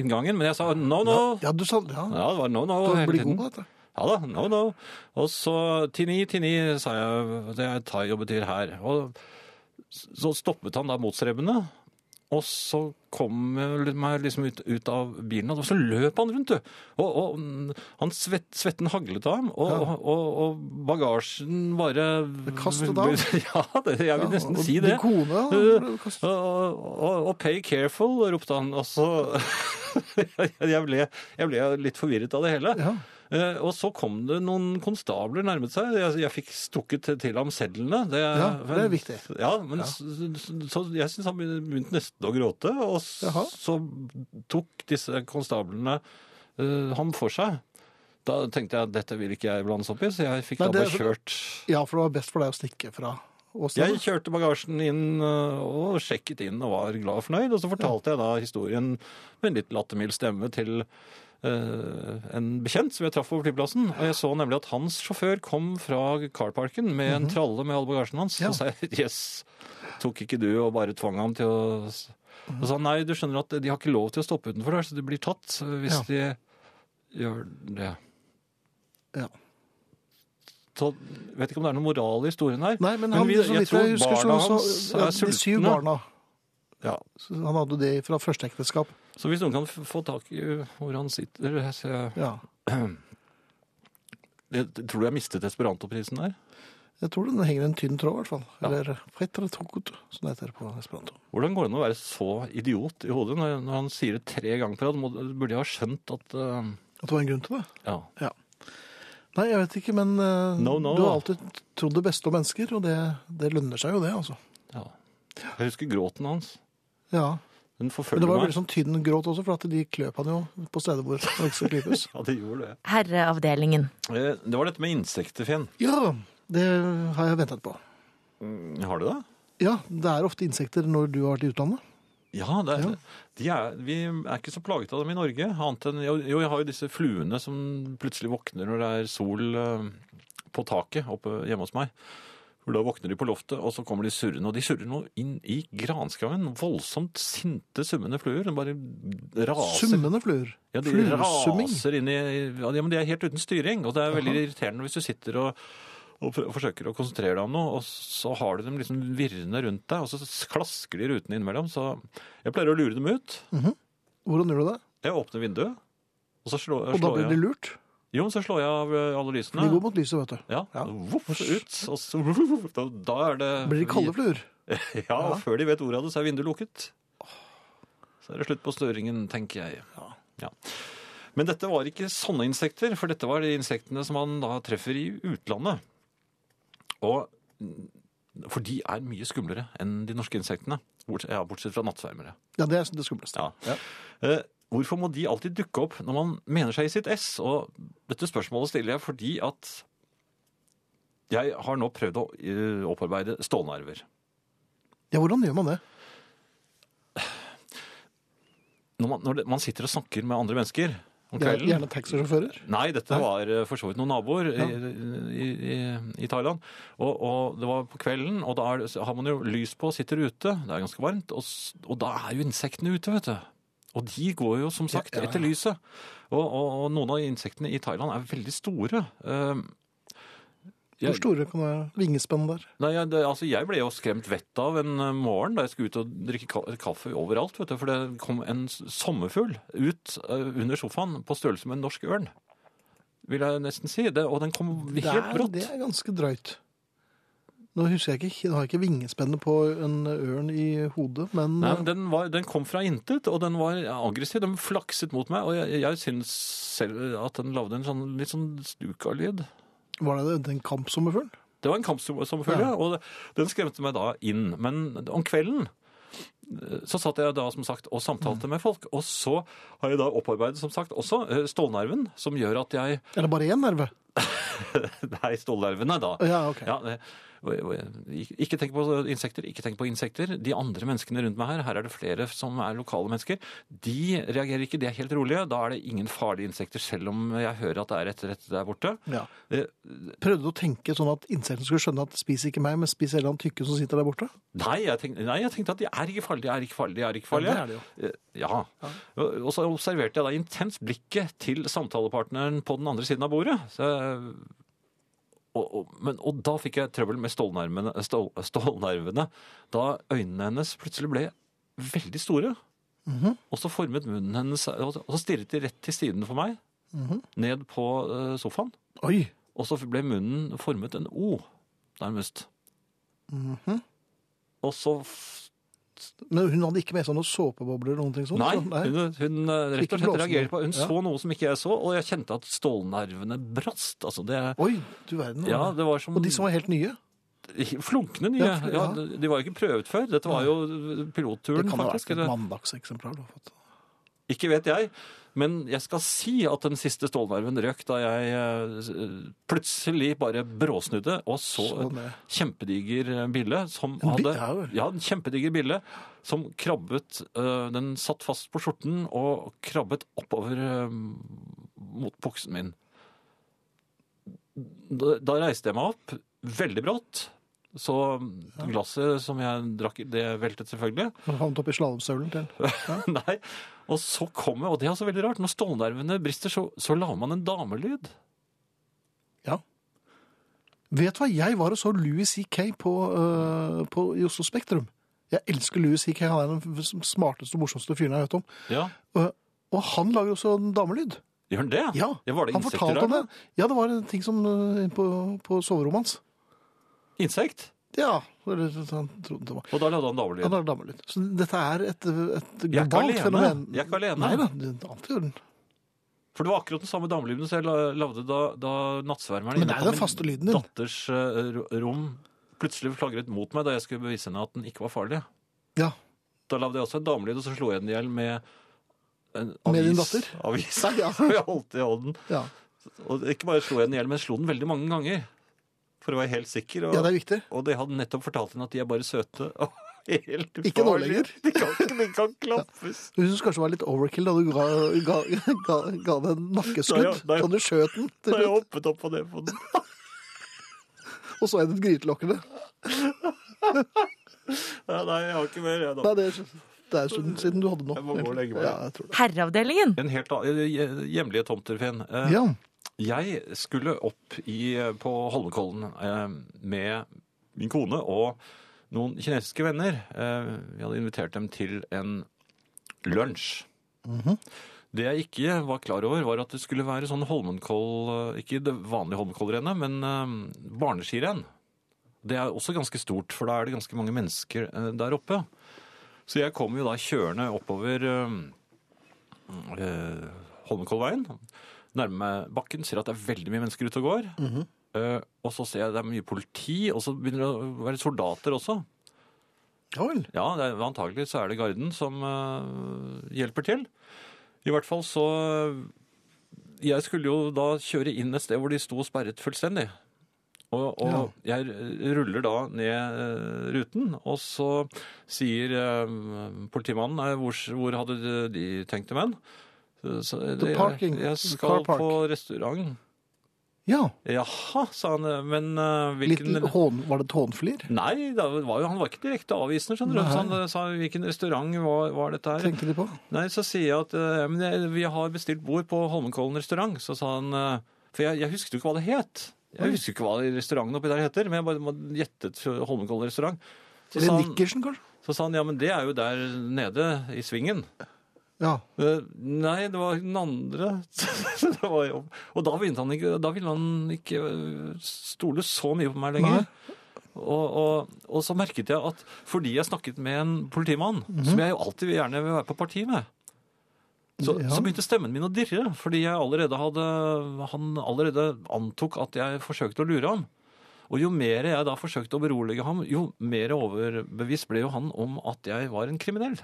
S2: inngangen, men jeg sa no, no.
S1: Ja, du sa ja.
S2: Ja, det var no, no
S1: Du
S2: hele
S1: blir
S2: tiden.
S1: god på dette.
S2: Ja da, no, no. Og så Tini, Tini, sa jeg, det er thai og betyr her. Og så stoppet han da motstrebende, og så kom jeg meg liksom ut, ut av bilen, og så løp han rundt, du. Og, og mm, han svett, svetten haglet av ham, og,
S1: Ja.
S2: og, og bagasjen bare
S1: kastet av?
S2: Ja, det, jeg vil nesten
S1: og
S2: si
S1: din
S2: det.
S1: kone, ja,
S2: Eh,
S1: ble kastet-
S2: og, og, og pay careful, ropte han, og så jeg, ble, jeg ble litt forvirret av det hele.
S1: Ja.
S2: Eh, og så kom det noen konstabler nærmet seg. Jeg, jeg fikk stukket til- til ham sedlene. Det,
S1: Ja, det er viktig.
S2: Ja, men s- s- Så, jeg syns han begynte nesten å gråte. Og s-
S1: Jaha.
S2: så tok disse konstablene eh, ham for seg. Da tenkte jeg dette vil ikke jeg blandes opp i, så jeg fikk
S1: Nei,
S2: da
S1: det
S2: bare
S1: er-
S2: kjørt
S1: ja, for det var best for deg å stikke fra
S2: jeg
S1: åstedet.
S2: kjørte bagasjen inn eh, og sjekket inn og var glad og fornøyd. Og så fortalte jeg da historien med en litt lattermild stemme til eh, en bekjent som jeg traff på flyplassen. Og jeg så nemlig at hans sjåfør kom fra carparken med en tralle med all bagasjen hans.
S1: Ja.
S2: Så sa jeg yes, tok ikke du og bare tvang ham til å s-" Og sa nei, du skjønner at de har ikke lov til å stoppe utenfor der, så de blir tatt eh, hvis de gjør det.
S1: Ja.
S2: Så jeg vet ikke om det er noen moral i historien her.
S1: Nei, men han,
S2: vi-
S1: så vidt jeg, husker, så, så ja, de syv barna
S2: Ja.
S1: så Han hadde jo det fra første ekteskap.
S2: Så hvis noen kan f- få tak i hvor han sitter så jeg,
S1: Ja.
S2: jeg Tror du jeg mistet Esperanto-prisen der?
S1: Jeg tror den henger en tynn tråd, i hvert fall. Eller fetretokut, som det heter på esperanto.
S2: Hvordan går det an å være så idiot i hodet når, når han sier det tre ganger på rad? Må- Burde jeg ha skjønt at eh,
S1: At det var en grunn til det?
S2: Ja.
S1: Ja. Nei, jeg vet ikke, men eh,
S2: No, no,
S1: du har
S2: da.
S1: alltid trodd det beste om mennesker, og det, det lønner seg jo, det, altså.
S2: ja. Jeg husker gråten hans.
S1: Ja.
S2: Den
S1: Men
S2: forfølger
S1: det var
S2: meg.
S1: veldig sånn tynn gråt også, for at de kløp han jo på steder hvor han ikke skal klypes.
S2: Ja, det gjorde det.
S3: Herreavdelingen.
S2: Eh, Det var dette med insekter, Finn.
S1: Ja, det har jeg ventet på.
S2: Har du det?
S1: Ja, det er ofte insekter når du har vært i utlandet.
S2: Ja, det,
S1: Ja.
S2: De er, vi er ikke så plaget av dem i Norge. Annet enn, jo, jo, jeg har jo disse fluene som plutselig våkner når det er sol eh, på taket oppe hjemme hos meg. For da våkner de på loftet, og så kommer de surrende. Og de surrer nå inn i granskauen. Voldsomt sinte, summende fluer. De bare raser.
S1: Summende fluer.
S2: Ja, de
S1: Fluesumming.
S2: raser inn i Ja, men de er helt uten styring, og det er veldig irriterende hvis du sitter og, og prø- forsøker å konsentrere deg om noe, og så har du dem liksom virrende rundt deg, og så klasker de rutene innimellom. Så jeg pleier å lure dem ut.
S1: Hvordan gjør du det?
S2: Jeg åpner vinduet, og så slår,
S1: Og da
S2: slår
S1: blir de
S2: jeg
S1: lurt.
S2: Jo, men så slår jeg av eh, alle
S1: De
S2: lysene.
S1: går mot lyset, vet du.
S2: Ja,
S1: Ja.
S2: voff ut, og så da, da er det
S1: Blir de kalde fluer?
S2: Ja, og før de vet ordet av det, så er vinduet lukket. Så er det slutt på støringen, tenker jeg. Ja. Men dette var ikke sånne insekter, for dette var de insektene som man da treffer i utlandet. Og, for de er mye skumlere enn de norske insektene, bortsett, ja, bortsett fra nattsvermere.
S1: Ja, det er det skumleste.
S2: Ja. Eh, hvorfor må de alltid dukke opp når man mener seg i sitt ess? Og dette spørsmålet stiller jeg fordi at jeg har nå prøvd å eh, opparbeide stålnerver.
S1: Ja, hvordan gjør man det?
S2: når man, når det, man sitter og snakker med andre mennesker
S1: Gjerne,
S2: om kvelden
S1: gjerne taxisjåfører?
S2: Nei, dette var eh, for så vidt noen naboer i, i, i, i Thailand. Og, og det var på kvelden, og da er, det- så har man jo lys på og sitter ute. Det er ganske varmt. Og, s- og da er jo insektene ute, vet du. Og de går jo som sagt etter lyset. Og, og, og noen av insektene i Thailand er veldig store. Eh,
S1: Hvor store kan være vingespenn der?
S2: Nei, jeg, det, altså jeg ble jo skremt vettet av en eh, morgen da jeg skulle ut og drikke ka kaffe overalt, vet du, for det kom en s- sommerfugl ut eh, under sofaen på størrelse med en norsk ørn, vil jeg nesten si. Det, og den kom
S1: Det
S2: helt
S1: er,
S2: brått.
S1: det er ganske drøyt. Nå husker jeg ikke, nå har jeg ikke vingespennet på en ørn i hodet, men eh,
S2: Nei, men den, var, den kom fra intet, og den var aggressiv. Den flakset mot meg, og jeg, jeg syns selv at den lagde en sånn, litt sånn stuka-lyd.
S1: var det den kampsommerfuglen?
S2: Det var en kamp som, som følge,
S1: Ja.
S2: og det- den skremte meg da inn. Men om kvelden eh, så satt jeg da som sagt og samtalte med folk, og så har jeg da opparbeidet som sagt også eh, stålnerven, som gjør at jeg
S1: Er det bare én nerve?
S2: Nei, stålnerven, nei da.
S1: Ja, ok.
S2: Ja, eh, Ik- Ikke tenk på insekter, ikke tenk på insekter. De andre menneskene rundt meg her, her er det flere som er lokale mennesker, de reagerer ikke, de er helt rolige. Da er det ingen farlige insekter, selv om jeg hører at det er et eller annet der borte.
S1: Ja.
S2: Eh,
S1: Prøvde du å tenke sånn at insektene skulle skjønne at spis ikke meg, men spis hele han tykke som sitter der borte?
S2: Nei, jeg tenkte, nei, jeg tenkte at de er ikke farlige, de er ikke farlige, de er ikke
S1: Ja,
S2: farlige.
S1: det er det jo.
S2: Eh, Ja. Og og så observerte jeg da intenst blikket til samtalepartneren på den andre siden av bordet. Så, eh, og, og, men, og da fikk jeg trøbbel med stålnervene, stål, stålnervene, da øynene hennes plutselig ble veldig store. Og så formet munnen hennes, og og så stirret de rett til siden for meg, ned på eh, sofaen.
S1: Oi!
S2: Og så ble munnen formet en O, nærmest. Og så f-
S1: Men hun hadde ikke med seg noen såpebobler eller noen ting sånt?
S2: Nei,
S1: så-
S2: hun, hun eh, rett
S1: Ikke
S2: og slett
S1: blåsen.
S2: reagerte på Hun
S1: Ja.
S2: så noe som ikke jeg så, og jeg kjente at stålnervene brast. Altså det,
S1: Oi, du verden. altså.
S2: ja, det var som
S1: Og de som var helt nye?
S2: flunkende nye.
S1: Ja,
S2: Ja,
S1: ja.
S2: de var jo ikke prøvet før. Dette var jo eh,
S1: Det
S2: pilotturen,
S1: kan ha vært
S2: faktisk.
S1: et
S2: Eller,
S1: mandagseksemplar. du har fått.
S2: ikke vet jeg. Men jeg skal si at den siste stålnerven røk da jeg eh, plutselig bare bråsnudde og så
S1: Så
S2: en
S1: det.
S2: kjempediger bille som
S1: Sånn. En bi-
S2: hadde
S1: ja vel.
S2: Ja, en kjempediger bille som krabbet eh, Den satt fast på skjorten og krabbet oppover eh, mot buksen min. Da, da reiste jeg meg opp veldig brått. Så glasset som jeg drakk, i, det veltet selvfølgelig.
S1: Han havnet oppi slalåmstøvelen til.
S2: Nei. Og så kommer, og det er også veldig rart, når stålnervene brister, så, så lager man en damelyd.
S1: Ja. Vet du hva, jeg var og så Louis C.K. På, øh, på i Oslo Spektrum. Jeg elsker Louis C.K. Han er den f- smarteste og morsomste fyren jeg har hørt om.
S2: Ja,
S1: Øh, og han lager også en damelyd.
S2: Gjør den det?
S1: Ja,
S2: var det
S1: han
S2: insekter
S1: fortalte
S2: der,
S1: om det. Ja, det var en ting som øh, på, på soverommet hans.
S2: da? Insekt?
S1: Ja, eller han trodde det var.
S2: Og da lagde han damelyd.
S1: Han lager damelyd. Så dette er et, et
S2: Jeg er ikke
S1: globalt
S2: alene.
S1: fenomen.
S2: Jeg er ikke alene.
S1: Nei da, det er alltid gjør den.
S2: For det var akkurat den samme damelyden som jeg la- lagde da, da nattsvermeren
S1: Men det
S2: inne
S1: er
S2: på
S1: den
S2: min
S1: faste lyden din.
S2: datters eh, ro- rom plutselig flagret mot meg da jeg skulle bevise henne at den ikke var farlig.
S1: Ja.
S2: Da lagde jeg også en damelyd, og så slo jeg den i hjel med en
S1: Med
S2: avis.
S1: din datter?
S2: Avis.
S1: Nei, ja.
S2: Og jeg holdt i hånden.
S1: Ja.
S2: Og ikke bare slo jeg den i hjel, men jeg slo den veldig mange ganger. For å være helt sikker. Og,
S1: ja, det er viktig.
S2: og de hadde nettopp fortalt henne at de er bare søte. og Helt
S1: Ikke nå
S2: ufarlige.
S1: lenger.
S2: De kan, ikke- de kan klappes.
S1: Jeg synes kanskje det var litt overkill da du ga, ga, ga, ga den
S2: Nei,
S1: nakkeskudd.
S2: ja, nei.
S1: Da du skjøt den, til
S2: Da jeg
S1: slutt,
S2: hoppet opp på det på den.
S1: og så endet grytelokkene.
S2: Ja, nei, jeg har ikke mer. Jeg, da.
S1: Nei, det er, det er siden, siden du hadde nå.
S2: Jeg må gå og legge meg.
S1: Ja, jeg tror det.
S4: Herreavdelingen.
S2: En helt annen eh, Hjemlige tomter, Finn. Eh,
S1: Ja,
S2: Jeg skulle opp i, på Holmenkollen eh, med min kone og noen kinesiske venner. Eh, vi hadde invitert dem til en lunsj. Det jeg ikke var klar over, var at det skulle være sånn Holmenkoll eh, Ikke det vanlige Holmenkollrennet, men eh, barneskirenn. Det er også ganske stort, for da er det ganske mange mennesker eh, der oppe. Så jeg kom jo da kjørende oppover eh, eh, Holmenkollveien. Nærmer meg bakken, ser at det er veldig mye mennesker ute og går.
S1: Mhm.
S2: Eh, og så ser jeg det er mye politi, og så begynner det å være soldater også.
S1: ja vel.
S2: Ja, det er, antagelig så er det garden som eh, hjelper til. I hvert fall så Jeg skulle jo da kjøre inn et sted hvor de sto sperret fullstendig. Og, og jeg ruller da ned eh, ruten, og så sier eh, politimannen eh, hvor, hvor hadde de tenkt dem hen? Så- så-
S1: The parking.
S2: Jeg, jeg skal
S1: Car park.
S2: på restaurant.
S1: Ja,
S2: Jaha, sa han. eh, Men eh,
S1: litt
S2: hvilken
S1: hån, var det et hånflir?
S2: Nei, det var jo, han var ikke direkte avvisende, skjønner du.
S1: Nei.
S2: Så han eh, sa hvilken restaurant var, var dette her?
S1: Tenkte de på?
S2: Nei, så sier jeg at eh, men jeg, vi har bestilt bord på Holmenkollen restaurant. Så sa han eh, For jeg, jeg husket jo ikke hva det het.
S1: Oi.
S2: Jeg husker ikke hva restauranten oppi der heter, men jeg bare må- gjettet Holmenkollen restaurant. Så sa,
S1: Eller
S2: han,
S1: Nikkersen, kanskje?
S2: så sa han ja, men det er jo der nede i svingen.
S1: Ja.
S2: Eh, Nei, det var den andre. Så det var jobb. Og da, begynte han ikke, da ville han ikke eh, stole så mye på meg lenger.
S1: Nei.
S2: Og, og, og så merket jeg at fordi jeg snakket med en politimann,
S1: Mhm.
S2: som jeg jo alltid gjerne vil være på parti med, så,
S1: Ja.
S2: så begynte stemmen min å dirre. Fordi jeg allerede hadde, han allerede antok at jeg forsøkte å lure ham. Og jo mer jeg da forsøkte å berolige ham, jo mer overbevist ble jo han om at jeg var en kriminell.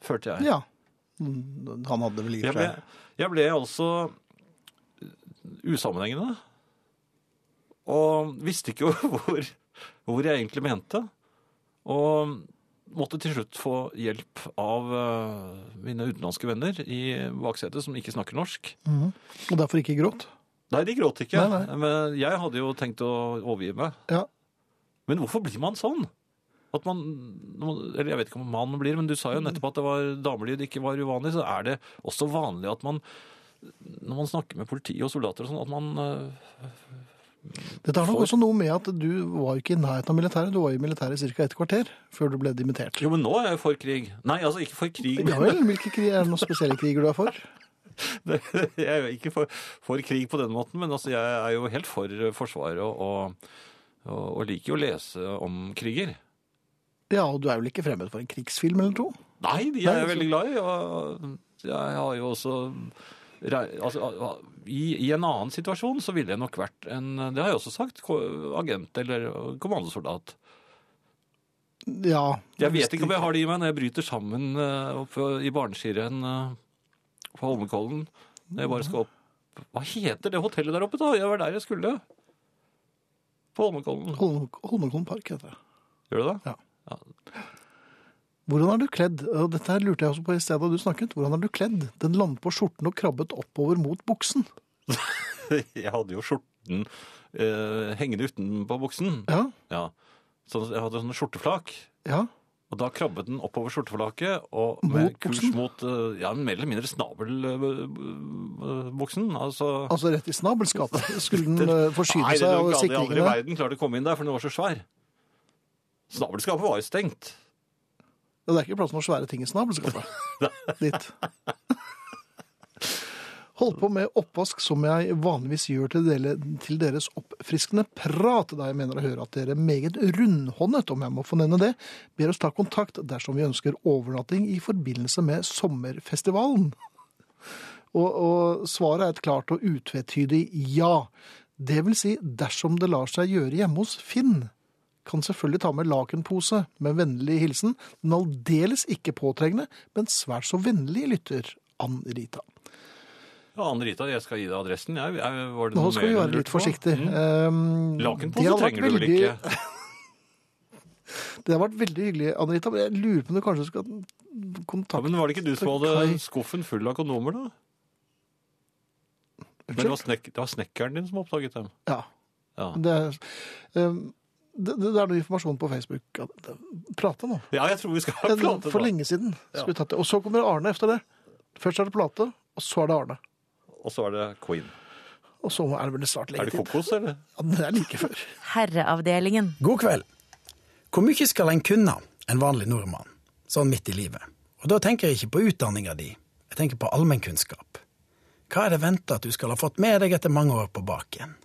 S2: Følte jeg.
S1: ja. Mm, Han hadde vel i og
S2: Jeg
S1: for
S2: ble,
S1: seg
S2: jeg ble altså eh, usammenhengende. Og visste ikke hvor hvor jeg egentlig mente. Og måtte til slutt få hjelp av eh, mine utenlandske venner i baksetet som ikke snakker norsk.
S1: Og derfor ikke gråt.
S2: Nei, de gråt ikke.
S1: Nei, nei.
S2: Men jeg hadde jo tenkt å overgi meg.
S1: Ja.
S2: Men hvorfor blir man sånn? At man, eller jeg vet ikke om man blir, men du sa jo nettopp at det var damelyd ikke var uvanlig, så er det også vanlig at man, når man snakker med politi og soldater og sånn, at man øh,
S1: Dette har nok
S2: For-
S1: også noe med at du var jo ikke i nærheten av militæret. Du var i militæret ca. et kvarter før du ble dimittert.
S2: Jo, men nå er jeg for krig. Nei, altså ikke for krig,
S1: Ja
S2: men
S1: vel, hvilke krig er det noen spesielle kriger du er for?
S2: jeg er jo ikke for, for krig på den måten, men altså jeg er jo helt for øh, forsvaret og, og, og liker jo å lese om kriger.
S1: Ja, og du er vel ikke fremmed for en krigsfilm eller to?
S2: Nei, de er
S1: Nei,
S2: jeg
S1: så-
S2: veldig glad i. Og jeg har jo også rei- altså, i, I en annen situasjon så ville jeg nok vært en Det har jeg også sagt. ko- Agent eller kommandosoldat.
S1: Ja.
S2: Jeg vet ikke om jeg har det i meg når jeg bryter sammen eh, oppe i barneskirenn eh, på Holmenkollen. Når jeg bare skal opp Hva heter det hotellet der oppe, da? Jeg var der jeg skulle. På Holmenkollen.
S1: Holmen- Holmenkollen park heter det.
S2: Gjør du det?
S1: Hvordan er du kledd? Og Dette her lurte jeg også på i stedet da du snakket. Hvordan er du kledd? Den landet på skjorten og krabbet oppover mot buksen.
S2: Jeg hadde jo skjorten eh, hengende utenpå buksen.
S1: Ja,
S2: Ja. Så jeg hadde sånne skjorteflak,
S1: ja.
S2: og da krabbet den oppover skjorteflaket og
S1: Mot
S2: med kurs
S1: buksen?
S2: mot eh, ja, mer eller mindre eh, snabelbuksen. Altså,
S1: Altså rett i snabelskapet. Skulle den eh, forsyne
S2: det
S1: seg av
S2: hadde jeg aldri i
S1: sikringene?
S2: verden klart å komme inn der, for den var så svær. Snabelskapet var jo stengt.
S1: Ja, det er ikke plass til noen svære ting i snabelskapet. Ditt. Holdt på med oppvask som jeg vanligvis gjør til, dele, til deres oppfriskende prat, da jeg mener å høre at dere meget rundhåndet, om jeg må få nevne det, ber oss ta kontakt dersom vi ønsker overnatting i forbindelse med sommerfestivalen. Og, og svaret er et klart og utvetydig ja. Det vil si dersom det lar seg gjøre hjemme hos Finn. Kan selvfølgelig ta med lakenpose med vennlig hilsen. Den aldeles ikke påtrengende, men svært så vennlige lytter, Ann Rita.
S2: Ja, Anne-Rita, jeg skal gi deg adressen. Jeg, jeg, var det
S1: Nå
S2: noe
S1: skal vi
S2: mer du
S1: være
S2: lurte
S1: litt
S2: på? Mm.
S1: forsiktige. Um, det
S2: Lakenpose
S1: hadde vært
S2: trenger du vel
S1: veldig-
S2: ikke?
S1: Det har vært veldig hyggelig, Ann Rita, men jeg lurer på om du kanskje skal
S2: Ja,
S1: kontakte
S2: men var det ikke du som
S1: Kai.
S2: hadde skuffen full av kondomer, da? Men det var, snek, det var snekkeren din som oppdaget dem.
S1: Ja.
S2: Ja.
S1: Det, er- um, det, det er noe informasjon på Facebook. Ja, det- Prate nå.
S2: Ja, jeg tror vi skal ha
S1: Det
S2: plate.
S1: er For
S2: da.
S1: lenge siden.
S2: Ja.
S1: Skulle vi tatt det. Og så kommer Arne efter det. Først er det plate, og så er det Arne.
S2: Og så er det Queen.
S1: Og så er det vel snart
S2: Er
S1: lenge
S2: det
S1: til.
S2: kokos, eller?
S1: Ja, det er like før.
S3: Herreavdelingen.
S5: God kveld. Hvor mye skal en kunne, en vanlig nordmann, sånn midt i livet? Og da tenker jeg ikke på utdanninga di, jeg tenker på allmennkunnskap. Hva er det venta at du skal ha fått med deg etter mange år på baken?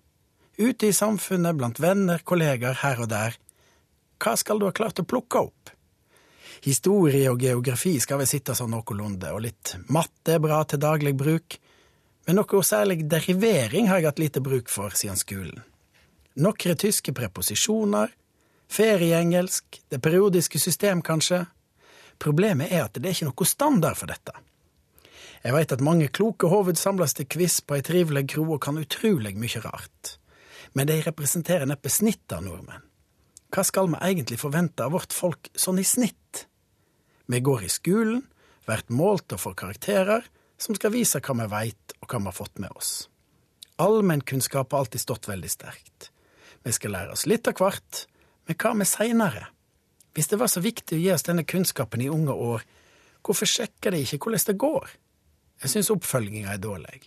S5: Ute i samfunnet, blant venner, kollegaer, her og der. Hva skal du ha klart å plukke opp? Historie og geografi skal vel sitte sånn noenlunde, og litt matte er bra til daglig bruk, men noe særlig derivering har jeg hatt lite bruk for siden skolen noen tyske preposisjoner, ferieengelsk, det periodiske system, kanskje. Problemet er at det er ikke noe standard for dette. Jeg veit at mange kloke hoved samles til quiz på ei trivelig kro og kan utrolig mye rart, men de representerer neppe snittet av nordmenn. Hva skal vi egentlig forvente av vårt folk sånn i snitt? Vi går i skolen, blir målt og får karakterer som skal vise hva vi veit og hva vi har fått med oss. Allmennkunnskap har alltid stått veldig sterkt. Vi skal lære oss litt av hvert, men hva med seinere? Hvis det var så viktig å gi oss denne kunnskapen i unge år, hvorfor sjekker de ikke hvordan det går? Jeg syns oppfølginga er dårlig.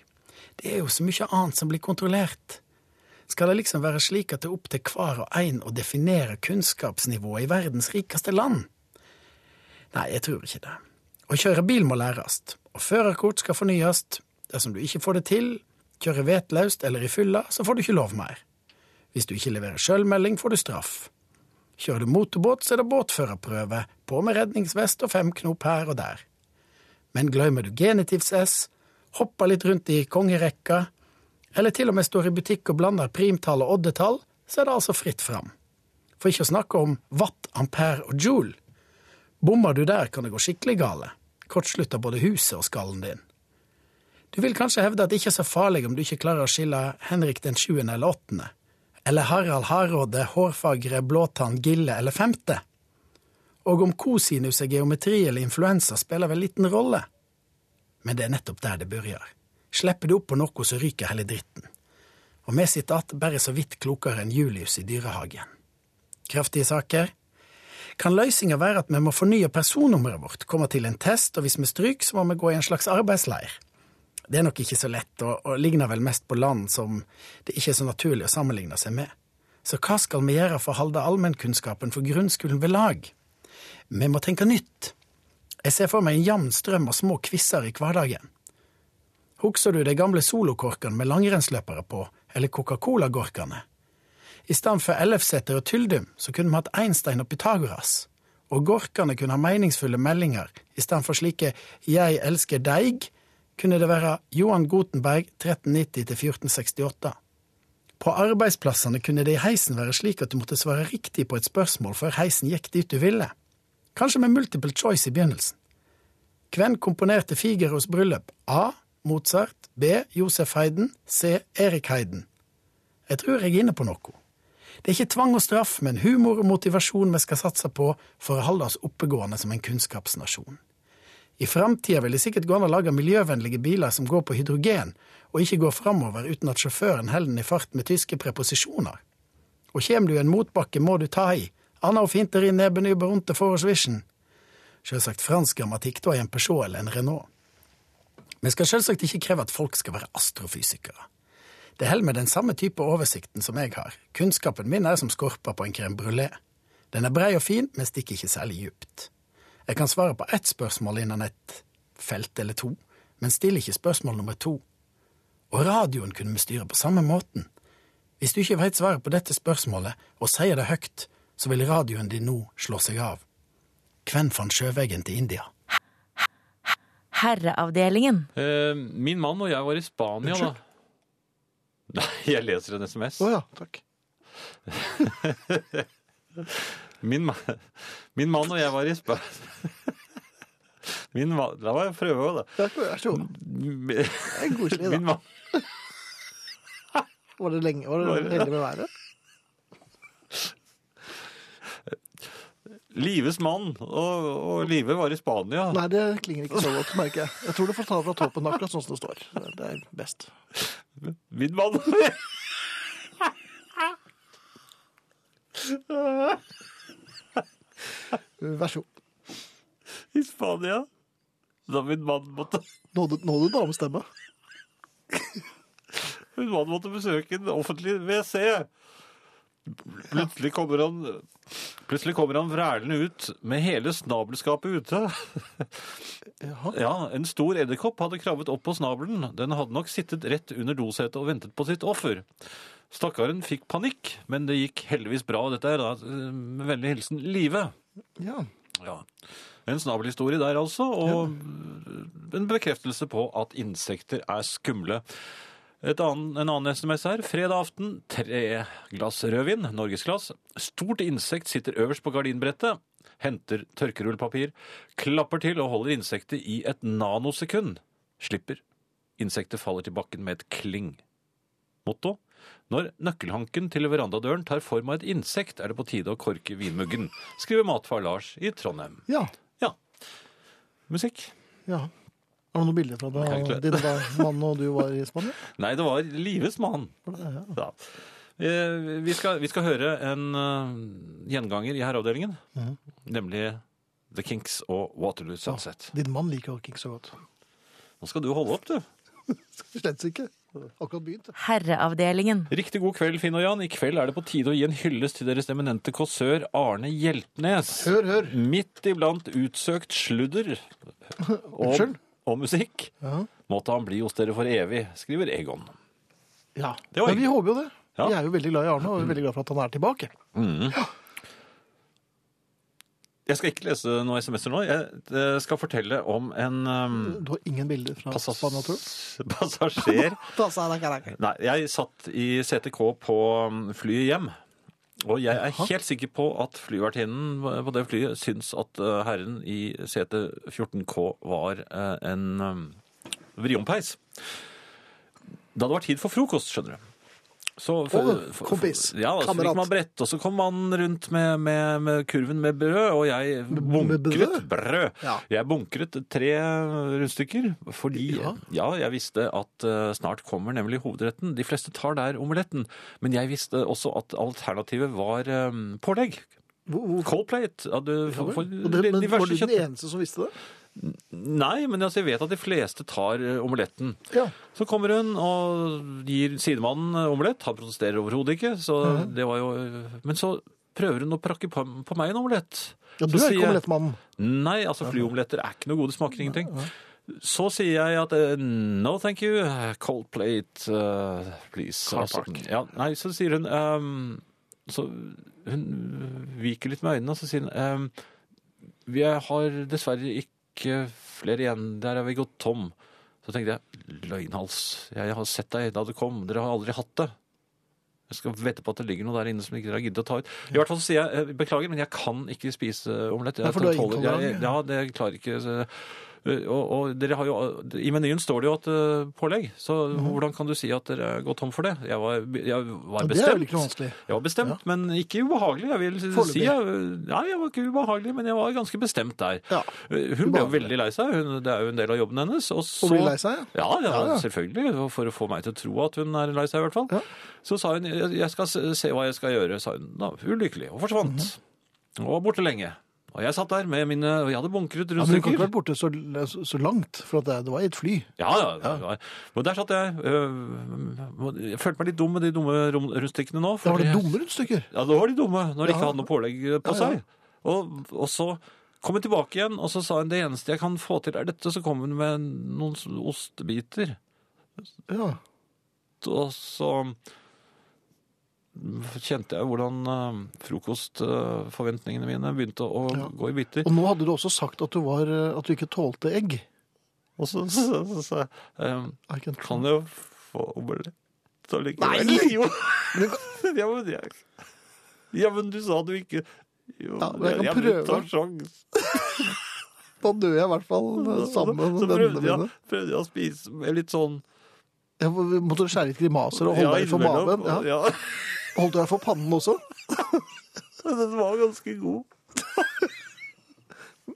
S5: Det er jo så mye annet som blir kontrollert. Skal det liksom være slik at det er opp til hver og en å definere kunnskapsnivået i verdens rikeste land? Nei, jeg tror ikke det. Å kjøre bil må læres, og førerkort skal fornyes. Dersom du ikke får det til, kjører vettløst eller i fylla, så får du ikke lov mer. Hvis du ikke leverer sjølmelding, får du straff. Kjører du motorbåt, så er det båtførerprøve, på med redningsvest og fem knop her og der. Men glemmer du genitivs-S, hopper litt rundt i kongerekka, eller til og med står i butikk og blander primtall og oddetall, så er det altså fritt fram. For ikke å snakke om watt, ampere og joule. Bommer du der, kan det gå skikkelig gale. Kortslutter både huset og skallen din. Du vil kanskje hevde at det ikke er så farlig om du ikke klarer å skille Henrik den 7. eller 8. eller Harald Hardråde, Hårfagre, Blåtann, Gille eller Femte? Og om kosinus er geometri eller influensa, spiller vel liten rolle? Men det er nettopp der det begynner. Slipper du opp på noe, så ryker hele dritten. Og vi sitter att bare så vidt klokere enn Julius i dyrehagen. Kraftige saker? Kan løsninga være at vi må fornye personnummeret vårt, komme til en test, og hvis vi stryker, så må vi gå i en slags arbeidsleir? Det er nok ikke så lett, og, og ligner vel mest på land som det ikke er så naturlig å sammenligne seg med. Så hva skal vi gjøre for å holde allmennkunnskapen for grunnskolen ved lag? Vi må tenke nytt. Jeg ser for meg en jevn strøm av små quizer i hverdagen. Husker du de gamle solokorkene med langrennsløpere på, eller Coca-Cola-gorkene? I stedet for Ellefseter og Tyldum, så kunne vi hatt Einstein og Pythagoras. Og gorkene kunne ha meningsfulle meldinger. I stedet for slike 'Jeg elsker deig', kunne det være Johan Gutenberg 1390-1468. På arbeidsplassene kunne det i heisen være slik at du måtte svare riktig på et spørsmål før heisen gikk dit du ville. Kanskje med multiple choice i begynnelsen. Hvem komponerte Figeros bryllup? A. Mozart. B. Josef Heiden. C. Erik Heiden. Jeg tror jeg er inne på noe. Det er ikke tvang og straff, men humor og motivasjon vi skal satse på for å holde oss oppegående som en kunnskapsnasjon. I framtida vil det sikkert gå an å lage miljøvennlige biler som går på hydrogen, og ikke går framover uten at sjåføren holder den i fart med tyske preposisjoner. Og kjem du i en motbakke, må du ta i. Anna og finter i nebben über rundt og forhårsvisjen. Sjølsagt fransk grammatikk da i en Peugeot eller en Renault. Vi skal sjølsagt ikke kreve at folk skal være astrofysikere. Det holder med den samme type oversikten som jeg har. Kunnskapen min er som skorpa på en crème brulé. Den er brei og fin, men stikker ikke særlig djupt. Jeg kan svare på ett spørsmål innen et felt eller to, men stiller ikke spørsmål nummer to. Og radioen kunne vi styre på samme måten. Hvis du ikke veit svaret på dette spørsmålet, og sier det høyt, så vil radioen din nå slå seg av. Hvem fant sjøveggen til India?
S3: Herreavdelingen.
S2: Eh, Min mann og jeg var i Spania da. Nei, jeg leser en SMS.
S1: Å ja, takk.
S2: Min, ma- min mann og jeg var i Spa... Min mann La meg prøve, da.
S1: Det er ikke- Vær så god.
S2: Min
S1: Det er koselig, da.
S2: mann
S1: Var det lenge? Var det heldig med været?
S2: Lives mann og, og Live var i Spania.
S1: Nei, det klinger ikke så godt, merker jeg. Jeg tror du får ta det fra toppen akkurat sånn som det står. Det er best.
S2: Min mann
S1: Vær så god.
S2: i Spania. Da min mann måtte,
S1: Nådde, nådde damestemme.
S2: min mann måtte besøke en offentlig WC. Plutselig kommer han Plutselig kommer han vrælende ut med hele snabelskapet ute.
S1: Jaha.
S2: Ja, En stor edderkopp hadde krabbet opp på snabelen. Den hadde nok sittet rett under dosetet og ventet på sitt offer. Stakkaren fikk panikk, men det gikk heldigvis bra. Dette er da eh, med vennlig hilsen Live.
S1: Ja.
S2: Ja. En snabelhistorie der altså, og en bekreftelse på at insekter er skumle. Et annen, en annen SMS her. Fredag aften, tre glass rødvin, norgesglass. Stort insekt sitter øverst på gardinbrettet. Henter tørkerullpapir. Klapper til og holder insektet i et nanosekund. Slipper. Insektet faller til bakken med et kling. Motto. Når nøkkelhanken til verandadøren tar form av et insekt, er det på tide å korke vinmuggen, skriver matfar Lars i Trondheim.
S1: ja.
S2: Ja. Musikk?
S1: ja. Har du noen bilder fra da
S2: Jeg kan ikke-
S1: din da, mann og du var i Spania?
S2: Nei, det var Lives mann. Ja. Eh, Vi, skal, vi skal høre en eh, gjenganger i herreavdelingen, nemlig The Kinks og Waterloo Sunset.
S1: Din mann liker jo ikke så godt.
S2: Nå skal du holde opp, du.
S1: Slett ikke. Akkurat begynt. jeg.
S3: Herreavdelingen.
S2: Riktig god kveld, Finn og Jan. I kveld er det på tide å gi en hyllest til deres eminente kåsør Arne Hjeltnes.
S1: Hør, hør.
S2: Midt iblant utsøkt sludder og,
S1: Unnskyld?
S2: og musikk
S1: Ja.
S2: måtte han bli hos dere for evig, skriver Egon.
S1: Ja.
S2: Det var
S1: Men vi håper jo det.
S2: Ja.
S1: Vi er jo veldig glad i Arne, og vi er veldig glad for at han er tilbake.
S2: Mm. Jeg skal ikke lese noen SMS-er nå. Jeg eh, skal fortelle om en um,
S1: Du har ingen bilder fra
S2: passas-
S1: Spania, tror du?
S2: passasjer
S1: Da sa jeg det, Karak.
S2: Nei, jeg satt i CTK på um, flyet hjem. Og jeg er helt sikker på at flyvertinnen på det flyet syns at uh, herren i CT14K var uh, en um, vriompeis. Da det var tid for frokost, skjønner du. Så
S1: Og kompis,
S2: ja, da, Så
S1: kamerat.
S2: fikk man brett, og så kom man rundt med, med, med kurven med brød, og jeg
S1: med
S2: bunkret
S1: brød?
S2: brød.
S1: Ja.
S2: Jeg bunkret tre rundstykker, fordi ja.
S1: Ja.
S2: jeg visste at eh, snart kommer nemlig hovedretten. De fleste tar der omeletten, men jeg visste også at alternativet var eh, pålegg.
S1: Hvor, hvor,
S2: Cold plate. Ja, du
S1: Ja
S2: får,
S1: vel.
S2: får
S1: Og det, men var
S2: diverse
S1: du den
S2: kjøtt.
S1: eneste som visste det?
S2: Nei, men altså, jeg vet at de fleste tar eh, omeletten.
S1: Ja.
S2: Så kommer hun og gir sidemannen eh, omelett. Han protesterer overhodet ikke, så det var jo eh, Men så prøver hun å prakke på, på meg en omelett.
S1: ja du er
S2: Så
S1: ikke
S2: sier jeg-
S1: omelettmannen.
S2: Nei, altså flyomeletter er ikke noe gode, smaker ingenting. Så sier jeg at eh, no thank you, cold plate, eh, please.
S1: Car
S2: Altså,
S1: park.
S2: ja, nei, så sier hun ehm, Så hun viker litt med øynene, og så sier hun ehm, Vi har dessverre ikke flere igjen, der er vi gått tom. Så tenkte jeg løgnhals, jeg har sett deg da du kom, dere har aldri hatt det. Jeg skal vette på at det ligger noe der inne som ikke dere har giddet å ta ut. I hvert fall så sier jeg eh, beklager, men jeg kan ikke spise omelett. Jeg
S1: Ja, for du er
S2: tåler- jeg-
S1: intolerant,
S2: Ja, det jeg klarer ikke. så- Eh, Og, og dere har jo, I menyen står det jo at eh, pålegg, så hvordan kan du si at dere går tom for det? Jeg var, jeg
S1: Mhm. Ja,
S2: var
S1: det er vel
S2: bestemt.
S1: ikke noe vanskelig.
S2: Jeg var bestemt, men ikke ubehagelig. Jeg vil si
S1: Foreløpig.
S2: jeg, Nei, jeg var ikke ubehagelig, men jeg var ganske bestemt der. Eh,
S1: Ja.
S2: Hun ble jo
S1: Ubehagelig.
S2: veldig lei seg. Hun, det er jo en del av jobben hennes. Og så,
S1: Og blir lei seg?
S2: Ja, ja,
S1: Ja, ja.
S2: selvfølgelig. For å få meg til å tro at hun er lei seg, i hvert fall.
S1: Ja.
S2: Så sa hun «Jeg- 'jeg skal se se hva jeg skal gjøre', sa hun. Da, ulykkelig. Og forsvant. Og var borte lenge. Og jeg satt der med mine Og jeg hadde bunkret
S1: Mhm. Ja, men Altså, du kan
S2: rundstykker.
S1: ikke vært borte så, så, så langt, for at det, det var i et fly.
S2: Ja, ja. det var- Og der satt jeg. øh, Jeg følte meg litt dum med de dumme rom- rundstykkene nå.
S1: Da var det
S2: fordi-
S1: dumme rundstykker.
S2: Ja, da var de dumme, når de
S1: Ja.
S2: ikke hadde noe pålegg på
S1: Ja, ja.
S2: seg. Og, og så kom hun tilbake igjen, og så sa hun det eneste jeg kan få til er dette, så kom hun med noen s- ostebiter.
S1: Ja.
S2: Og så kjente jeg hvordan eh, frokostforventningene mine begynte å
S1: Ja.
S2: gå i biter.
S1: Og nå hadde du også sagt at du, var, eh, at du ikke tålte egg.
S2: Og så sa jeg eh,
S1: I can't-
S2: kan jeg få omelett allikevel?
S1: Nei!
S2: Jo. ja, men jeg... Ja, men du sa du ikke jo,
S1: Ja, men jeg kan
S2: vil ta
S1: prøve.
S2: sjans.
S1: Da dør jeg i hvert fall eh, sammen med
S2: så
S1: vennene
S2: prøvde jeg,
S1: mine.
S2: prøvde jeg å spise med litt sånn
S1: Jeg måtte skjære litt grimaser og holde deg for
S2: innimellom,
S1: maven.
S2: og-
S1: Ja.
S2: Ja.
S1: Holdt du deg for pannen også?
S2: Den var ganske god.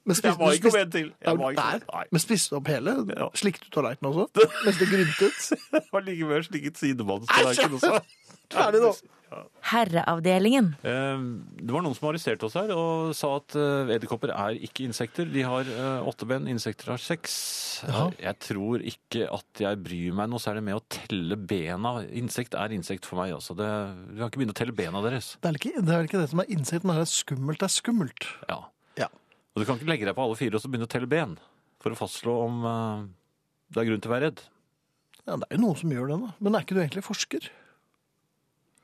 S1: Men
S2: Jeg
S1: spiste,
S2: var
S1: du spiste,
S2: ikke med til.
S1: Ja,
S2: Jeg var ikke
S1: der.
S2: med. Nei,
S1: men spiste du opp hele?
S2: Ja.
S1: Slikte du tallerkenen også? Mens det gryntet?
S2: jeg har likevel slikket sidemannstallerken også.
S1: Ferdig nå.
S3: Herreavdelingen.
S2: Eh, Det var noen som arresterte oss her og sa at eh, edderkopper er ikke insekter. De har eh, åtte ben, insekter har seks. Eh,
S1: Ja.
S2: Jeg tror ikke at jeg bryr meg noe særlig med å telle bena. Insekt er insekt for meg også. Det, vi kan ikke begynne å telle bena deres.
S1: Det er, vel ikke, det er vel ikke det som er insekt, men det er skummelt det er skummelt.
S2: Ja.
S1: Ja.
S2: Og du kan ikke legge deg på alle fire og så begynne å telle ben for å fastslå om eh, det er grunn til å være redd.
S1: Ja, det er jo noen som gjør det, da. Men er ikke du egentlig forsker?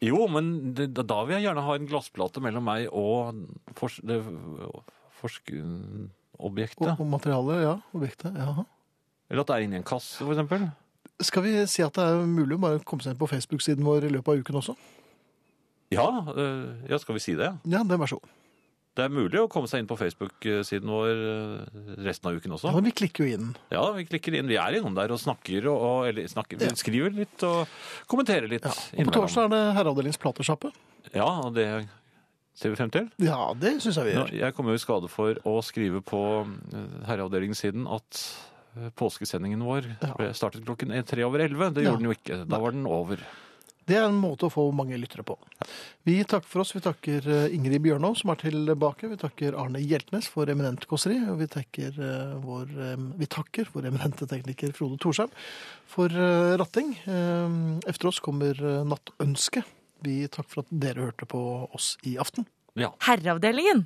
S2: Jo, men det, da- da vil jeg gjerne ha en glassplate mellom meg og fors, det-
S1: Og,
S2: forskerobjektet.
S1: og materialet, ja. Objektet. Jaha.
S2: Eller at det er inni en kasse, for eksempel.
S1: Skal vi si at det er mulig å bare komme seg inn på Facebook-siden vår i løpet av uken også?
S2: Ja, øh, ja, skal vi si det?
S1: Ja, det vær så god.
S2: Det er mulig å komme seg inn på Facebook-siden vår øh, resten av uken
S1: Ja,
S2: også.
S1: vi klikker jo inn.
S2: Ja, vi klikker inn. Vi er innom der og snakker og, og eller, snakker, vi
S1: Ja.
S2: skriver litt og kommenterer litt.
S1: Ja. Og på torsdag er det Herreavdelingens platesjappe.
S2: Ja, og det ser vi frem til.
S1: Ja, det syns jeg vi
S2: Nå,
S1: gjør.
S2: jeg kommer jo i skade for å skrive på eh, herreavdelingssiden at eh, påskesendingen vår
S1: Ja.
S2: ble startet klokken er tre over elleve. Det
S1: Ja.
S2: gjorde den jo ikke. Da var den over.
S1: Det er en måte å få mange lyttere på. Vi takker for oss. Vi takker eh, Ingrid Bjørnov, som er tilbake. Vi takker Arne Hjeltnes for eminent kåseri. Og vi, takker eh, vår, eh, vi takker vår eminente tekniker Frode Thorsheim for eh, ratting. Eh, Efter oss kommer eh, Nattønsket. Vi takker for at dere hørte på oss i aften.
S2: Ja.
S3: Herreavdelingen.